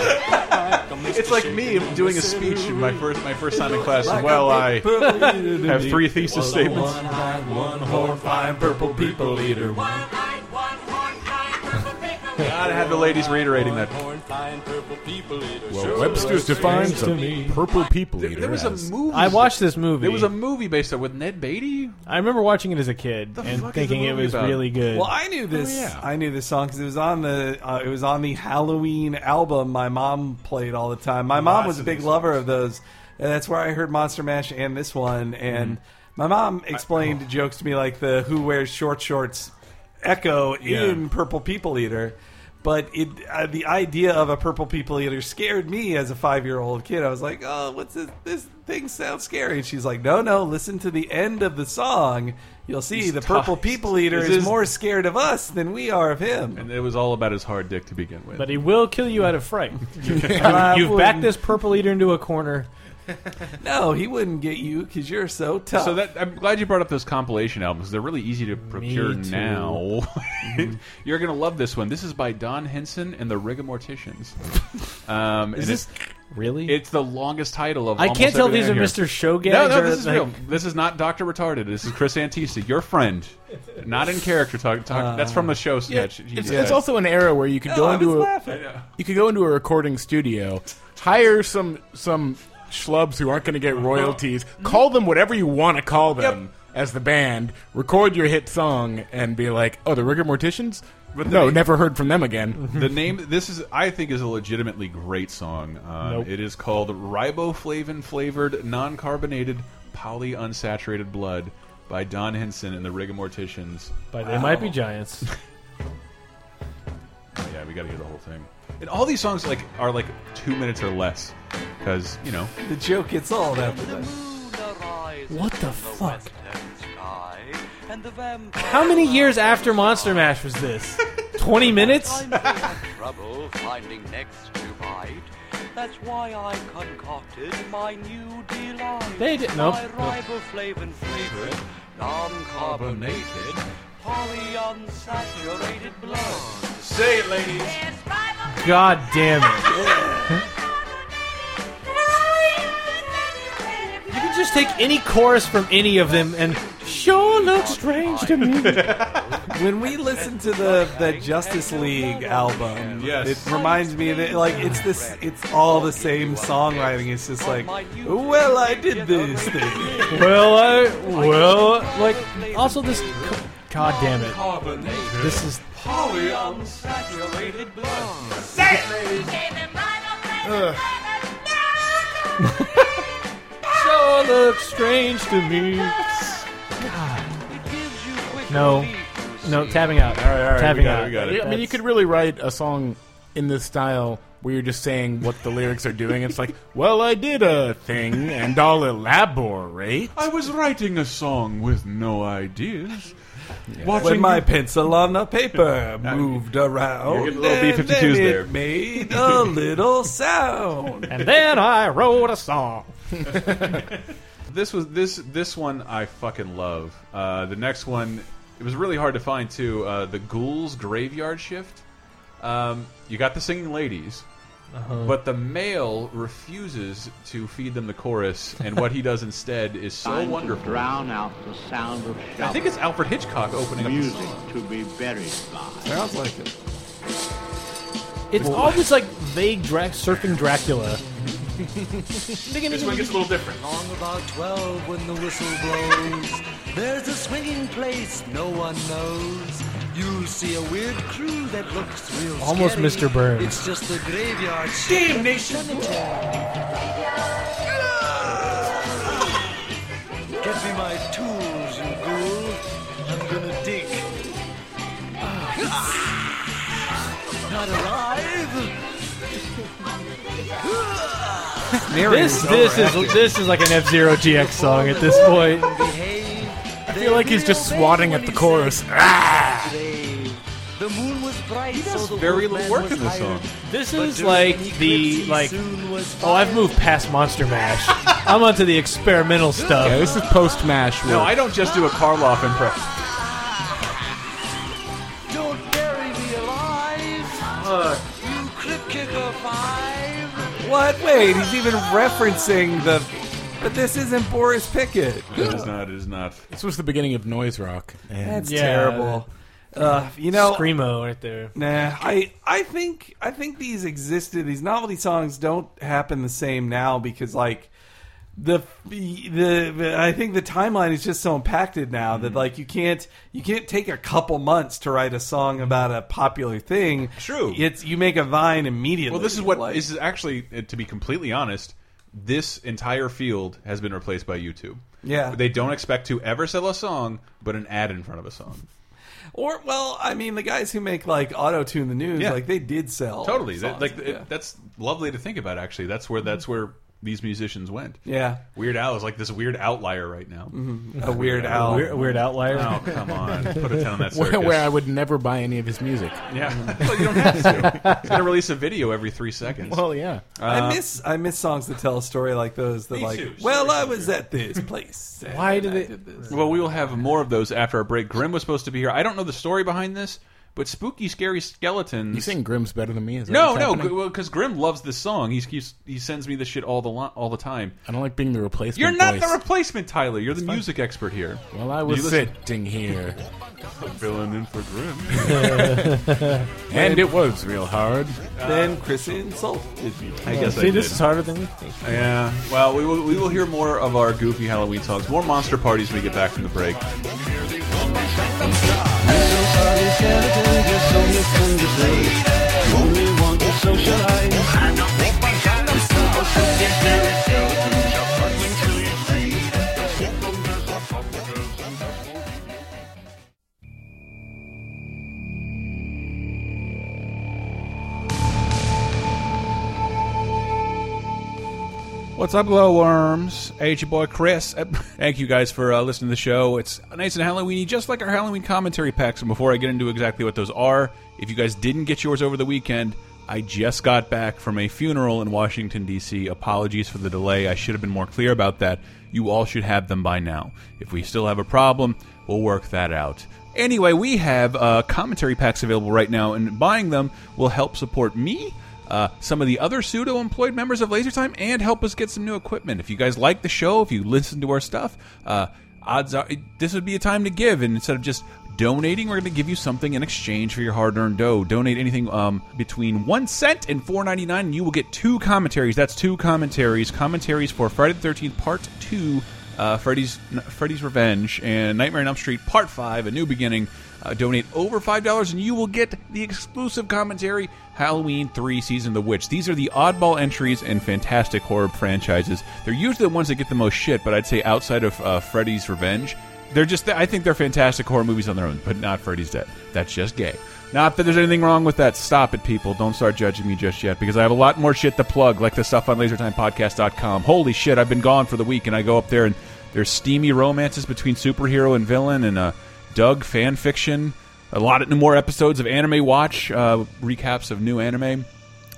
[SPEAKER 2] It's like me doing a speech in my first my first time in class. Well, I have three thesis statements.
[SPEAKER 3] One whore, fine purple people eater.
[SPEAKER 2] Gotta have the ladies reiterating that.
[SPEAKER 5] Well, Webster's defines a purple people eater.
[SPEAKER 2] There was a
[SPEAKER 5] as-
[SPEAKER 2] movie.
[SPEAKER 4] I watched this movie.
[SPEAKER 2] There was a movie based on with Ned Beatty.
[SPEAKER 4] I remember watching it as a kid
[SPEAKER 2] The fuck
[SPEAKER 4] and
[SPEAKER 2] is
[SPEAKER 4] thinking
[SPEAKER 2] the
[SPEAKER 4] it
[SPEAKER 2] movie
[SPEAKER 4] was
[SPEAKER 2] about?
[SPEAKER 4] really good.
[SPEAKER 3] Well, I knew this.
[SPEAKER 5] yeah.
[SPEAKER 3] I knew this song because it was on the uh, it was on the Halloween album my mom played all the time. My
[SPEAKER 2] Lots
[SPEAKER 3] mom was a
[SPEAKER 2] of
[SPEAKER 3] big
[SPEAKER 2] these
[SPEAKER 3] lover of those, and that's where I heard Monster Mash and this one. And my mom explained jokes to me like the "Who wears short shorts?" echo in Purple People Eater. But it, uh, the idea of a purple people eater scared me as a five year old kid. I was like, "Oh, what's this? This thing sounds scary." And she's like, "No, no, listen to the end of the song. You'll see the purple
[SPEAKER 2] ties.
[SPEAKER 3] people eater
[SPEAKER 2] This
[SPEAKER 3] Oh, is,
[SPEAKER 2] is-
[SPEAKER 3] more scared of us than we are of him."
[SPEAKER 2] And it was all about his hard dick to begin with.
[SPEAKER 4] but he will kill you out of fright. you, have backed this purple eater into a corner.
[SPEAKER 3] No, he wouldn't get you because you're so tough.
[SPEAKER 2] so that I'm glad you brought up those compilation albums. They're really easy to procure
[SPEAKER 4] too. Mm-hmm.
[SPEAKER 2] now. You're gonna love this one. This is by Don Henson and the Rigamorticians. Um,
[SPEAKER 4] Is
[SPEAKER 2] and
[SPEAKER 4] this
[SPEAKER 2] it-
[SPEAKER 4] really?
[SPEAKER 2] it's the longest title of.
[SPEAKER 4] I
[SPEAKER 2] almost
[SPEAKER 4] can't tell if these
[SPEAKER 2] everything
[SPEAKER 4] are
[SPEAKER 2] on here.
[SPEAKER 4] Mr. Show gags.
[SPEAKER 2] No, no,
[SPEAKER 4] or,
[SPEAKER 2] this is
[SPEAKER 4] like-
[SPEAKER 2] real. This is not Doctor Retarded. This is Chris Antista, your friend, not in character talk. talk that's from the show
[SPEAKER 5] Yeah,
[SPEAKER 2] sketch. he
[SPEAKER 5] it's,
[SPEAKER 2] did.
[SPEAKER 5] it's also an era where you could go
[SPEAKER 3] I was
[SPEAKER 5] into a
[SPEAKER 3] laughing.
[SPEAKER 5] you could go into a recording studio, hire some some schlubs who aren't going to get royalties, call them whatever you want to call them as the band, record your hit song, and be like, "Oh, the Rigor Morticians." no, never heard from them again.
[SPEAKER 2] the name. This is, I think, is a legitimately great song. Um,
[SPEAKER 4] Nope.
[SPEAKER 2] It is called Riboflavin flavored non-carbonated polyunsaturated blood by Don Henson and the Rigamorticians.
[SPEAKER 4] But they might be giants.
[SPEAKER 2] Oh, Yeah, we got to hear the whole thing. And all these songs like are like two minutes or less because you know
[SPEAKER 3] the joke gets old after that.
[SPEAKER 4] What the fuck? How many years after Monster Mash was this? 20 minutes?
[SPEAKER 10] trouble finding next to bite. That's why I concocted my new delight.
[SPEAKER 4] They did- nope.
[SPEAKER 10] My riboflavin flavored, non-carbonated, polyunsaturated blood.
[SPEAKER 2] say it, ladies.
[SPEAKER 4] God damn it. You can just take any chorus from any of them and sure looks strange to me.
[SPEAKER 3] when we listen to the the Justice League album,
[SPEAKER 2] Yes.
[SPEAKER 3] it reminds me that like it's this, it's all the same songwriting. It's just like, well, I did this thing.
[SPEAKER 4] well, I, well, like, also this, god damn it. This is,
[SPEAKER 10] Polyunsaturated blood.
[SPEAKER 4] sure looks strange to me.
[SPEAKER 10] It gives you quick
[SPEAKER 4] No.
[SPEAKER 10] relief, you
[SPEAKER 4] No,
[SPEAKER 10] see.
[SPEAKER 4] tapping out.
[SPEAKER 2] All right, all right,
[SPEAKER 4] tapping
[SPEAKER 2] we got
[SPEAKER 4] out.
[SPEAKER 2] it, we got it.
[SPEAKER 5] Yeah, I mean, you could really write a song in this style where you're just saying what the lyrics are doing. It's like, "Well, I did a thing, and I'll elaborate."
[SPEAKER 2] I was writing a song with no ideas.
[SPEAKER 3] When my pencil on the paper moved around,
[SPEAKER 2] getting little
[SPEAKER 3] and
[SPEAKER 2] B-52s
[SPEAKER 3] then
[SPEAKER 2] there.
[SPEAKER 3] It made a little sound.
[SPEAKER 4] And then I wrote a song.
[SPEAKER 2] This was this this one I fucking love. Uh, the next one, it was really hard to find too. Uh, the Ghouls Graveyard Shift. Um, you got the singing ladies,
[SPEAKER 11] Uh-huh.
[SPEAKER 2] but the male refuses to feed them the chorus, and what he does instead is so wonderful.
[SPEAKER 11] drown out the sound of
[SPEAKER 2] I think it's Alfred Hitchcock opening up. the
[SPEAKER 11] music
[SPEAKER 2] song.
[SPEAKER 11] to be buried by.
[SPEAKER 3] Sounds like it.
[SPEAKER 4] It's always like vague dra- surfing Dracula.
[SPEAKER 2] This one gets a little different.
[SPEAKER 12] Long about 12 when the whistle blows. There's a swinging place no one knows. You'll see a weird crew that looks real
[SPEAKER 4] Almost
[SPEAKER 12] scary.
[SPEAKER 4] Mr. Burns.
[SPEAKER 12] It's just the graveyard
[SPEAKER 3] Damnation!
[SPEAKER 12] Get me my tools, you ghoul. I'm gonna dig. Not alive.
[SPEAKER 4] This this is this is like an F Zero GX song at this point.
[SPEAKER 5] I feel like he's just swatting at the chorus. Ah!
[SPEAKER 12] The moon was bright, so the
[SPEAKER 2] Very
[SPEAKER 12] wolfman
[SPEAKER 2] little work
[SPEAKER 12] was
[SPEAKER 2] in this
[SPEAKER 12] hired.
[SPEAKER 2] song.
[SPEAKER 4] This is like the like. Oh, I've moved past Monster Mash. I'm onto the experimental
[SPEAKER 5] Yeah,
[SPEAKER 4] stuff.
[SPEAKER 5] this is post mash.
[SPEAKER 2] No, I don't just do a Karloff impression.
[SPEAKER 12] Don't bury me alive. You crib kicker five.
[SPEAKER 3] What? Wait, he's even referencing the. But this isn't Boris Pickett.
[SPEAKER 2] It is not. It is not.
[SPEAKER 5] This was the beginning of noise rock. And
[SPEAKER 3] That's
[SPEAKER 4] Yeah.
[SPEAKER 3] terrible. Uh, you know,
[SPEAKER 4] Screamo right there.
[SPEAKER 3] Nah, I I think I think these existed. These novelty songs don't happen the same now because like the the I think the timeline is just so impacted now
[SPEAKER 2] Mm-hmm.
[SPEAKER 3] that like you can't you can't take a couple months to write a song about a popular thing.
[SPEAKER 2] Mm-hmm. True.
[SPEAKER 3] It's you make a vine immediately.
[SPEAKER 2] Well, this is what
[SPEAKER 3] like,
[SPEAKER 2] this is actually. uh, To be completely honest, this entire field has been replaced by YouTube.
[SPEAKER 3] Yeah.
[SPEAKER 2] they don't expect to ever sell a song, but an ad in front of a song.
[SPEAKER 3] or well, I mean the guys who make like auto tune the news
[SPEAKER 2] Yeah.
[SPEAKER 3] like they did sell
[SPEAKER 2] Totally, That-
[SPEAKER 3] songs.
[SPEAKER 2] like
[SPEAKER 3] yeah.
[SPEAKER 2] it- that's lovely to think about. Actually, that's where that's where these musicians went.
[SPEAKER 3] yeah. Mm-hmm.
[SPEAKER 2] Weird Al is like this weird outlier right now.
[SPEAKER 3] A weird owl.
[SPEAKER 4] Weird, weird outlier.
[SPEAKER 2] Oh come on, put a ten on that circus.
[SPEAKER 5] where, where I would never buy any of his music.
[SPEAKER 2] yeah, well, you don't have to. He's gonna release a video every three seconds.
[SPEAKER 5] Well, yeah.
[SPEAKER 2] Oh,
[SPEAKER 3] I miss I miss songs that tell a story like those. That
[SPEAKER 2] Uh, Me
[SPEAKER 3] like,
[SPEAKER 2] too.
[SPEAKER 3] well,
[SPEAKER 2] Sorry,
[SPEAKER 3] I was at this place.
[SPEAKER 4] Why
[SPEAKER 3] and
[SPEAKER 4] do
[SPEAKER 3] I
[SPEAKER 4] they-
[SPEAKER 3] this.
[SPEAKER 2] Well, we will have more of those after our break. Grim was supposed to be here. I don't know the story behind this, but spooky, scary skeletons.
[SPEAKER 5] You sing Grimm's better than me. Is that
[SPEAKER 2] No,
[SPEAKER 5] what's
[SPEAKER 2] no,
[SPEAKER 5] happening?
[SPEAKER 2] because Grim loves this song. He's, he's he sends me this shit all the lo- all the time.
[SPEAKER 5] I don't like being the replacement.
[SPEAKER 2] You're not the
[SPEAKER 5] voice.
[SPEAKER 2] replacement, Tyler. You're the music expert here.
[SPEAKER 5] Well, I
[SPEAKER 2] You
[SPEAKER 5] was
[SPEAKER 2] listen-
[SPEAKER 5] sitting here,
[SPEAKER 2] Filling in for Grim.
[SPEAKER 5] and it was real hard.
[SPEAKER 3] then Chris insulted me.
[SPEAKER 2] I guess I
[SPEAKER 4] See, this
[SPEAKER 2] did.
[SPEAKER 4] is harder than we think.
[SPEAKER 2] Yeah. Well, we will, we will hear more of our goofy Halloween songs, more monster parties when we get back from the break. What's up, glowworms? Hey, it's your boy Chris. Uh, Thank you guys for uh, listening to the show. It's nice and Halloweeny, just like our Halloween commentary packs. And before I get into exactly what those are, if you guys didn't get yours over the weekend, I just got back from a funeral in Washington D.C. Apologies for the delay. I should have been more clear about that. You all should have them by now. If we still have a problem, we'll work that out. Anyway, we have uh, commentary packs available right now, and buying them will help support me uh, some of the other pseudo employed members of Laser Time and help us get some new equipment. If you guys like the show, if you listen to our stuff, uh, odds are this would be a time to give. And instead of just donating, we're going to give you something in exchange for your hard earned dough. Donate anything um, between one cent and four ninety nine, and you will get two commentaries. That's two commentaries. Commentaries for Friday the 13th, Part 2. Uh, Freddy's Freddy's Revenge and Nightmare on Elm Street Part Five: A New Beginning. Uh, donate over five dollars, and you will get the exclusive commentary Halloween Three: Season of the Witch. These are the oddball entries and fantastic horror franchises. They're usually the ones that get the most shit, but I'd say outside of uh, Freddy's Revenge, they're just I think they're fantastic horror movies on their own. But not Freddy's Dead. That's just gay. Not that there's anything wrong with that. Stop it, people. Don't start judging me just yet because I have a lot more shit to plug, like the stuff on lasertimepodcast.com. Holy shit, I've been gone for the week and I go up there and there's steamy romances between superhero and villain and uh, Doug fan fiction, a lot of more episodes of Anime Watch, uh, recaps of new anime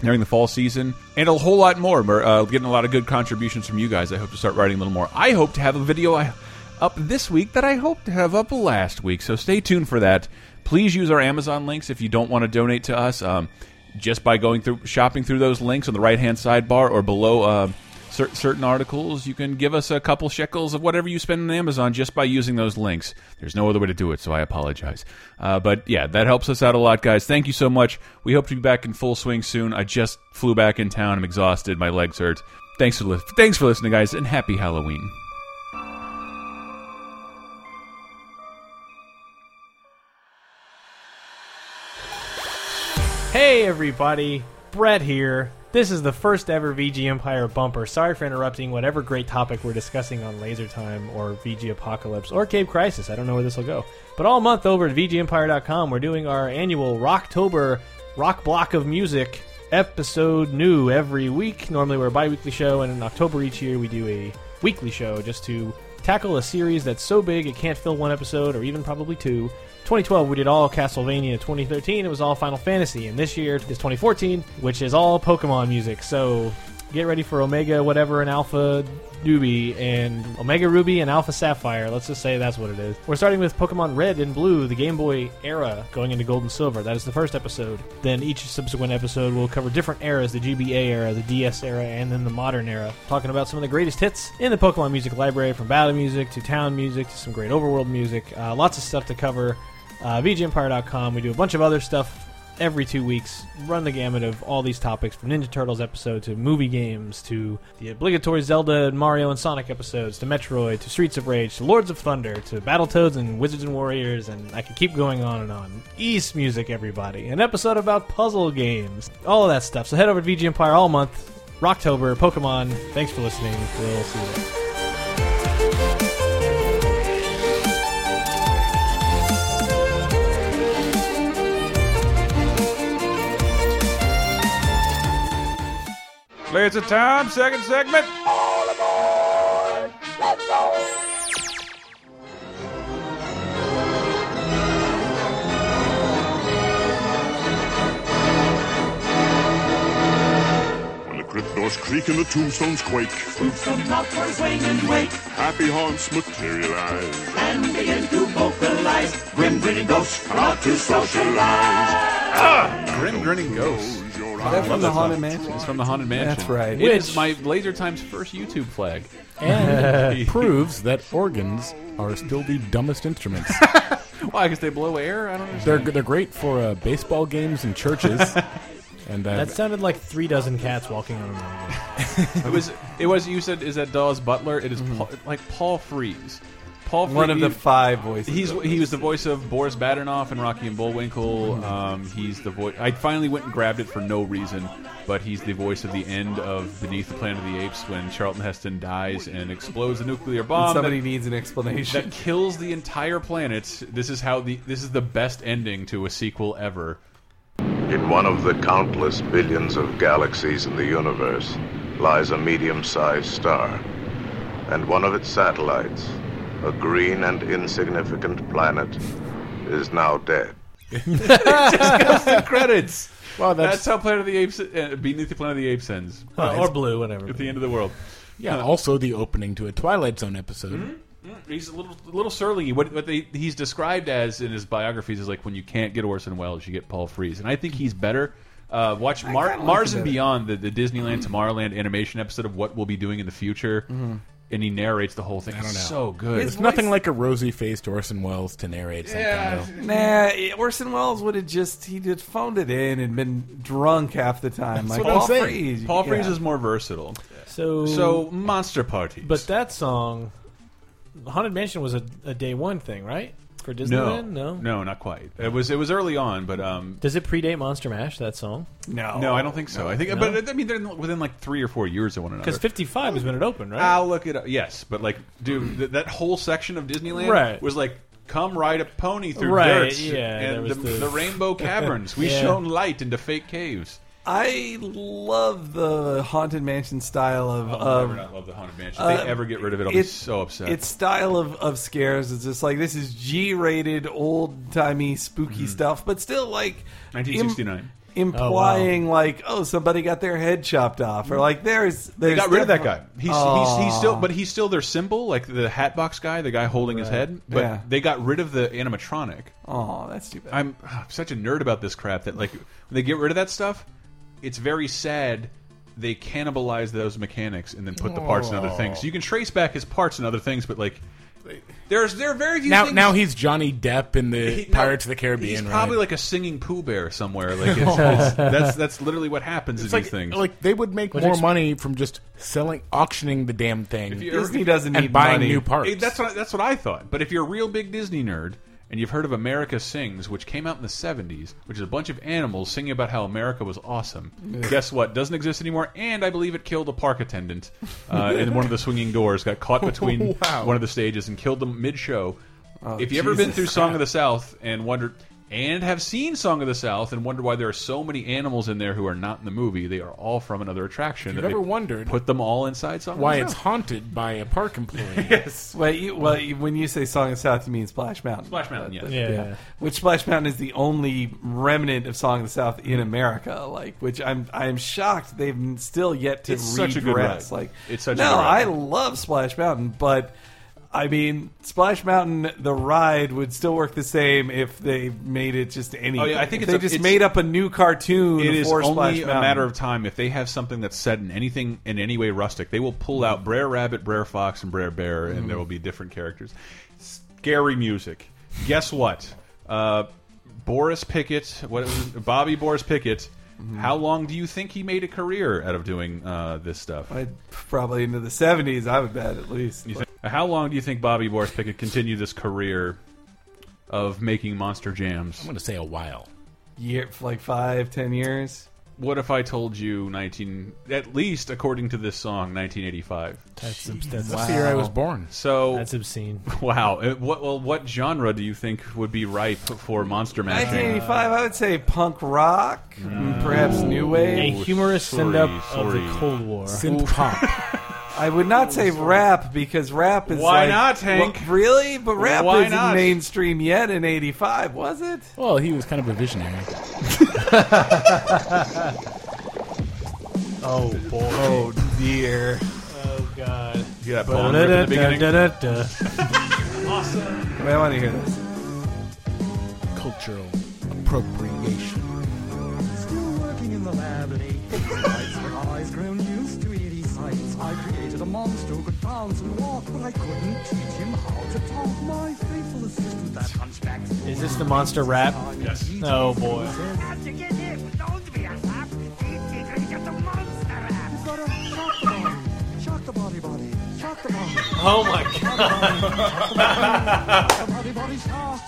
[SPEAKER 2] during the fall season, and a whole lot more. We're uh, getting a lot of good contributions from you guys. I hope to start writing a little more. I hope to have a video I- up this week that I hope to have up last week, so stay tuned for that. Please use our Amazon links if you don't want to donate to us. Um, just by going through shopping through those links on the right hand sidebar or below uh, cer certain articles, you can give us a couple shekels of whatever you spend on Amazon just by using those links. There's no other way to do it, so I apologize. Uh, but yeah, that helps us out a lot, guys. Thank you so much. We hope to be back in full swing soon. I just flew back in town. I'm exhausted. My legs hurt. Thanks for li- thanks for listening, guys, and happy Halloween.
[SPEAKER 4] Hey everybody, Brett here. This is the first ever VG Empire bumper. Sorry for interrupting whatever great topic we're discussing on Laser Time or VG Apocalypse or Cave Crisis. I don't know where this will go. But all month over at VGEmpire.com, we're doing our annual Rocktober Rock Block of Music episode new every week. Normally we're a bi weekly show, and in October each year we do a weekly show just to tackle a series that's so big it can't fill one episode or even probably two. 2012 we did all Castlevania. 2013 it was all Final Fantasy, and this year is 2014, which is all Pokemon music. So get ready for Omega whatever and Alpha Ruby and Omega Ruby and Alpha Sapphire. Let's just say that's what it is. We're starting with Pokemon Red and Blue, the Game Boy era, going into Gold and Silver. That is the first episode. Then each subsequent episode will cover different eras the GBA era, the DS era, and then the modern era. Talking about some of the greatest hits in the Pokemon music library from battle music to town music to some great overworld music. Uh, lots of stuff to cover. Uh, VGEmpire.com. We do a bunch of other stuff every two weeks run the gamut of all these topics from Ninja Turtles episode to movie games to the obligatory Zelda, and Mario, and Sonic episodes to Metroid to Streets of Rage to Lords of Thunder to Battletoads and Wizards and Warriors, and I can keep going on and on. East music, everybody. An episode about puzzle games. All of that stuff. So head over to VG Empire all month. Rocktober, Pokemon. Thanks for listening. We'll see you later.
[SPEAKER 2] Laser time, second segment.
[SPEAKER 13] When the crypt doors creak and the tombstones quake,
[SPEAKER 14] Spooks from outdoors wane and wake,
[SPEAKER 13] happy haunts materialize.
[SPEAKER 14] and begin to vocalize. Grim grinning ghosts are out to socialize.
[SPEAKER 2] Grim Grinning Ghost.
[SPEAKER 3] that from The Haunted Mansion?
[SPEAKER 2] It's from the Haunted Mansion.
[SPEAKER 3] That's right.
[SPEAKER 2] It is my Laser Time's first YouTube flag.
[SPEAKER 5] And proves that organs are still the dumbest instruments.
[SPEAKER 2] Why? Because they blow air. I don't
[SPEAKER 5] They're
[SPEAKER 2] understand.
[SPEAKER 5] they're great for uh, baseball games and churches. and uh,
[SPEAKER 4] That sounded like three dozen cats walking on a lawn.
[SPEAKER 2] it was. It was. You said is that Dawes Butler? It is Paul, like Paul Freeze. Paul
[SPEAKER 3] Mm-hmm. One of
[SPEAKER 2] Frees-
[SPEAKER 3] the five voices
[SPEAKER 2] He's
[SPEAKER 3] of
[SPEAKER 2] he was the voice of Boris Badenoff and Rocky and Bullwinkle. Um, he's the voice. I finally went and grabbed it for no reason, but he's the voice of the end of Beneath the Planet of the Apes when Charlton Heston dies and explodes a nuclear bomb.
[SPEAKER 3] And somebody
[SPEAKER 2] that-
[SPEAKER 3] needs an explanation.
[SPEAKER 2] that kills the entire planet. This is how the this is the best ending to a sequel ever.
[SPEAKER 15] In one of the countless billions of galaxies in the universe lies a medium sized star, and one of its satellites, a green and insignificant planet, is now dead.
[SPEAKER 2] it just goes to credits.
[SPEAKER 5] Wow,
[SPEAKER 2] that's, how Planet of the Apes, uh, Beneath the Planet of the Apes ends,
[SPEAKER 5] Well, it's- Or
[SPEAKER 4] blue, whatever.
[SPEAKER 2] At the end of the world.
[SPEAKER 5] yeah,
[SPEAKER 2] Uh,
[SPEAKER 5] also the opening to a Twilight Zone episode.
[SPEAKER 2] Mm, He's a little, little surly. What, what they, he's described as in his biographies is like when you can't get Orson Welles, you get Paul Frees, and I think he's better. Uh, watch Mar-
[SPEAKER 3] like
[SPEAKER 2] Mars
[SPEAKER 3] him
[SPEAKER 2] and
[SPEAKER 3] better.
[SPEAKER 2] Beyond, the, the Disneyland Tomorrowland animation episode of what we'll be doing in the future, and he narrates the whole thing.
[SPEAKER 5] I don't know.
[SPEAKER 2] It's so good.
[SPEAKER 5] It's nothing like a rosy faced Orson Welles to narrate something.
[SPEAKER 2] Yeah.
[SPEAKER 5] though.
[SPEAKER 3] Nah, it- Orson Welles would have just he just phoned it in and been drunk half the time. like Paul Frees.
[SPEAKER 2] Paul
[SPEAKER 3] yeah.
[SPEAKER 2] Frees is more versatile.
[SPEAKER 4] So,
[SPEAKER 2] So Monster Party.
[SPEAKER 4] but that song, Haunted Mansion was a, a day one thing, right? For Disneyland,
[SPEAKER 2] no,
[SPEAKER 4] no.
[SPEAKER 2] no, not quite. It was it was early on, but um,
[SPEAKER 4] Does it predate Monster Mash? That song?
[SPEAKER 2] no, I don't think so. I think,
[SPEAKER 4] No?
[SPEAKER 2] but I mean, they're within like three or four years of one another.
[SPEAKER 4] Because 55 is when it opened, right?
[SPEAKER 2] I'll look it up. Yes, but like, dude, th that whole section of Disneyland
[SPEAKER 4] Right.
[SPEAKER 2] was like, come ride a pony through
[SPEAKER 4] Right,
[SPEAKER 2] dirt
[SPEAKER 4] yeah, there
[SPEAKER 2] and the,
[SPEAKER 4] was
[SPEAKER 2] the...
[SPEAKER 4] the-
[SPEAKER 2] Rainbow Caverns. We
[SPEAKER 4] Yeah.
[SPEAKER 2] shone light into fake caves.
[SPEAKER 3] I love the haunted mansion style of.
[SPEAKER 2] I'll
[SPEAKER 3] of-
[SPEAKER 2] Oh, never not love the haunted mansion. If they ever get rid of it, I'll be so upset.
[SPEAKER 3] Um, Its style of, of scares is just like this is G-rated, old-timey,
[SPEAKER 2] Mm-hmm.
[SPEAKER 3] spooky stuff, but still like im-
[SPEAKER 2] 1969.
[SPEAKER 3] implying like oh somebody got their head chopped off or like there's,
[SPEAKER 2] They
[SPEAKER 3] there's
[SPEAKER 2] got rid of that guy.
[SPEAKER 3] definitely-
[SPEAKER 2] He's, he's, he's
[SPEAKER 3] Aw.
[SPEAKER 2] still, but he's still their symbol, like the hat box guy, the guy holding his head. But
[SPEAKER 3] Yeah.
[SPEAKER 2] they got rid of the animatronic.
[SPEAKER 3] Oh, that's too bad.
[SPEAKER 2] I'm, I'm such a nerd about this crap that like when they get rid of that stuff, it's very sad. They cannibalize those mechanics and then put the parts in other
[SPEAKER 5] Aw.
[SPEAKER 2] things. So you can trace back his parts and other things, but like there's there are very few.
[SPEAKER 5] Now,
[SPEAKER 2] things
[SPEAKER 5] now he's Johnny Depp in the
[SPEAKER 2] He- no,
[SPEAKER 5] Pirates of the Caribbean.
[SPEAKER 2] He's
[SPEAKER 5] right?
[SPEAKER 2] probably like a singing Pooh Bear somewhere. Like it's, it's, that's that's literally what happens
[SPEAKER 5] It's
[SPEAKER 2] in
[SPEAKER 5] like,
[SPEAKER 2] these things.
[SPEAKER 5] like they would make
[SPEAKER 2] Which
[SPEAKER 5] more
[SPEAKER 2] ex-
[SPEAKER 5] money from just selling, auctioning the damn thing.
[SPEAKER 2] If you ever-
[SPEAKER 5] and buying new parts.
[SPEAKER 2] Eh, That's what that's what I thought. But if you're a real big Disney nerd and you've heard of America Sings, which came out in the '70s, which is a bunch of animals singing about how America was awesome,
[SPEAKER 5] Yeah.
[SPEAKER 2] guess what? Doesn't exist anymore. And I believe it killed a park attendant uh, in one of the swinging doors. Got caught between
[SPEAKER 5] Wow.
[SPEAKER 2] one of the stages and killed them mid-show.
[SPEAKER 5] Oh,
[SPEAKER 2] if you ever been
[SPEAKER 5] Jesus
[SPEAKER 2] through Song of
[SPEAKER 5] Christ.
[SPEAKER 2] the South and wondered. And have seen Song of the South and wonder why there are so many animals in there who are not in the movie. They are all from another attraction.
[SPEAKER 5] If
[SPEAKER 2] that
[SPEAKER 5] you've
[SPEAKER 2] they
[SPEAKER 5] ever wondered
[SPEAKER 2] put them all inside Song of the
[SPEAKER 5] why
[SPEAKER 2] South.
[SPEAKER 5] it's haunted by a park employee.
[SPEAKER 3] yes. Well, you, well, you, when you say Song of the South, you mean Splash Mountain.
[SPEAKER 2] Splash Mountain, yes.
[SPEAKER 3] Uh,
[SPEAKER 2] Yeah, yeah.
[SPEAKER 3] Which Splash Mountain is the only remnant of Song of the South in America. Like, which I'm I'm shocked they've n- still yet to
[SPEAKER 2] It's
[SPEAKER 3] redress.
[SPEAKER 2] such a good ride.
[SPEAKER 3] Like,
[SPEAKER 2] It's such a
[SPEAKER 3] no,
[SPEAKER 2] good ride.
[SPEAKER 3] I love Splash Mountain, but. I mean, Splash Mountain, the ride would still work the same if they made it just any.
[SPEAKER 2] Oh, yeah, I think
[SPEAKER 3] if
[SPEAKER 2] it's
[SPEAKER 3] they
[SPEAKER 2] a-
[SPEAKER 3] just
[SPEAKER 2] it's-
[SPEAKER 3] made up a new cartoon.
[SPEAKER 2] It is
[SPEAKER 3] for Splash
[SPEAKER 2] only a
[SPEAKER 3] Mountain.
[SPEAKER 2] matter of time if they have something that's said in anything in any way rustic. They will pull out Brer Rabbit, Brer Fox, and Brer Bear, and
[SPEAKER 3] Mm-hmm.
[SPEAKER 5] Mm.
[SPEAKER 2] there will be different characters. Scary music. Guess what? Uh, Boris Pickett, what was it? Bobby Boris Pickett.
[SPEAKER 3] Mm-hmm.
[SPEAKER 2] How long do you think he made a career out of doing uh, this stuff?
[SPEAKER 3] I, probably into the seventies. I would bet at least.
[SPEAKER 2] You think- how long do you think Bobby Boris Pickett continued this career of making monster jams? I'm
[SPEAKER 5] going to say a while.
[SPEAKER 3] year, like five, ten years.
[SPEAKER 2] What if I told you 19, at least according to this song, 1985?
[SPEAKER 4] That's obs- that's-
[SPEAKER 5] That's the year I was born.
[SPEAKER 2] So
[SPEAKER 4] that's obscene.
[SPEAKER 2] Wow. It- What well, what genre do you think would be ripe for monster matching?
[SPEAKER 3] 1985, I would say punk rock, mm, perhaps new wave,
[SPEAKER 4] A humorous
[SPEAKER 2] sorry,
[SPEAKER 4] send-up of the
[SPEAKER 2] sorry.
[SPEAKER 4] Cold War.
[SPEAKER 2] Synth
[SPEAKER 3] pop. I would not say rap because rap is
[SPEAKER 2] Why
[SPEAKER 3] like-
[SPEAKER 2] not, Hank?
[SPEAKER 3] Well, really, but rap
[SPEAKER 2] Why
[SPEAKER 3] isn't
[SPEAKER 2] not?
[SPEAKER 3] mainstream yet in '85, was it?
[SPEAKER 5] Well, he was kind of a visionary.
[SPEAKER 4] Oh boy.
[SPEAKER 3] Oh dear.
[SPEAKER 4] Oh god.
[SPEAKER 2] Yeah, that
[SPEAKER 3] bong rip at the beginning. Wait, I want to hear this.
[SPEAKER 5] Cultural appropriation.
[SPEAKER 7] Still working in the lab at eight. Lights, my eyes grown used to eerie sights. I created a monster who could bounce and walk, but I couldn't teach him how to talk. My faithful assistant, that hunchback.
[SPEAKER 4] Is this the monster rap?
[SPEAKER 2] Yes.
[SPEAKER 4] Oh boy.
[SPEAKER 7] You've got a shock the body. Shock the body body. Shock the body.
[SPEAKER 4] Oh my
[SPEAKER 7] god. Shock the body body shock.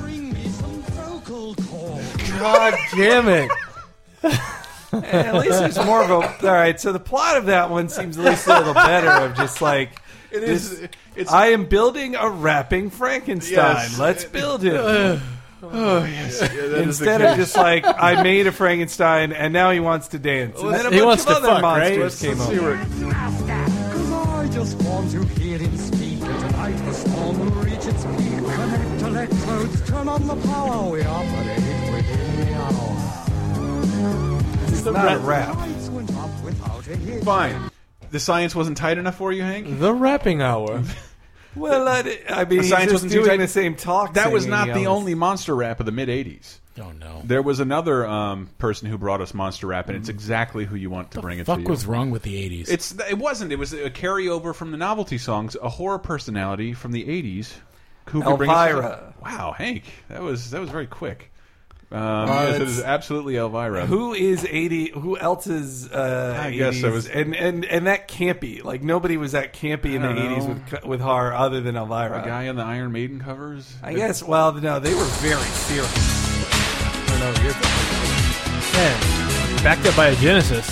[SPEAKER 7] Bring me some vocal cords.
[SPEAKER 4] God damn it.
[SPEAKER 3] at least there's more of a. All right, so the plot of that one seems at least a little better. Of just like
[SPEAKER 2] It is-
[SPEAKER 3] this-
[SPEAKER 2] it's-
[SPEAKER 3] I am building a rapping Frankenstein.
[SPEAKER 2] Yes.
[SPEAKER 3] Let's build it.
[SPEAKER 2] Ugh. Oh, yes. Yeah, that is the
[SPEAKER 3] Instead of
[SPEAKER 2] case.
[SPEAKER 3] just like I made a Frankenstein and now he wants to dance, and then a bunch of other monsters came up.
[SPEAKER 7] Cause I just want to hear it speak. And tonight the storm will reach its peak. Connect electrodes, turn on the power. We operate within the hour. This
[SPEAKER 3] is not a rap.
[SPEAKER 7] Lights went up without a hitch.
[SPEAKER 2] Fine. The science wasn't tight enough for you, Hank?
[SPEAKER 4] The rapping hour.
[SPEAKER 3] Well, I, di- I mean,
[SPEAKER 2] The
[SPEAKER 3] he's
[SPEAKER 2] science
[SPEAKER 3] just
[SPEAKER 2] wasn't too
[SPEAKER 3] doing
[SPEAKER 2] tight.
[SPEAKER 3] the same talk.
[SPEAKER 2] That was
[SPEAKER 3] singing
[SPEAKER 2] not
[SPEAKER 3] he
[SPEAKER 2] the
[SPEAKER 3] owns.
[SPEAKER 2] only monster rap of the mid 80s.
[SPEAKER 5] Oh no.
[SPEAKER 2] There was another um, person who brought us monster rap, and it's exactly who you want to bring it to.
[SPEAKER 5] Fuck
[SPEAKER 2] you.
[SPEAKER 5] was wrong with the eighties?
[SPEAKER 2] It's it wasn't. It was a carryover from the novelty songs, a horror personality from the '80s. Who could bring us-
[SPEAKER 3] Elvira.
[SPEAKER 2] Wow, Hank, that was that was very quick. Um,
[SPEAKER 3] Uh,
[SPEAKER 2] yes, it
[SPEAKER 3] it's-
[SPEAKER 2] is absolutely Elvira.
[SPEAKER 3] Who is eighty? Who else is? Uh,
[SPEAKER 2] I guess I
[SPEAKER 3] 80s?
[SPEAKER 2] was-
[SPEAKER 3] and and and that campy. Like nobody was that campy in
[SPEAKER 2] I
[SPEAKER 3] the
[SPEAKER 2] don't
[SPEAKER 3] eighties
[SPEAKER 2] know.
[SPEAKER 3] with cu- with horror other than Elvira.
[SPEAKER 2] The guy on the Iron Maiden covers.
[SPEAKER 3] I guess. Well, no, they were very serious. I don't know, you're-
[SPEAKER 4] Man, backed up by a Genesis.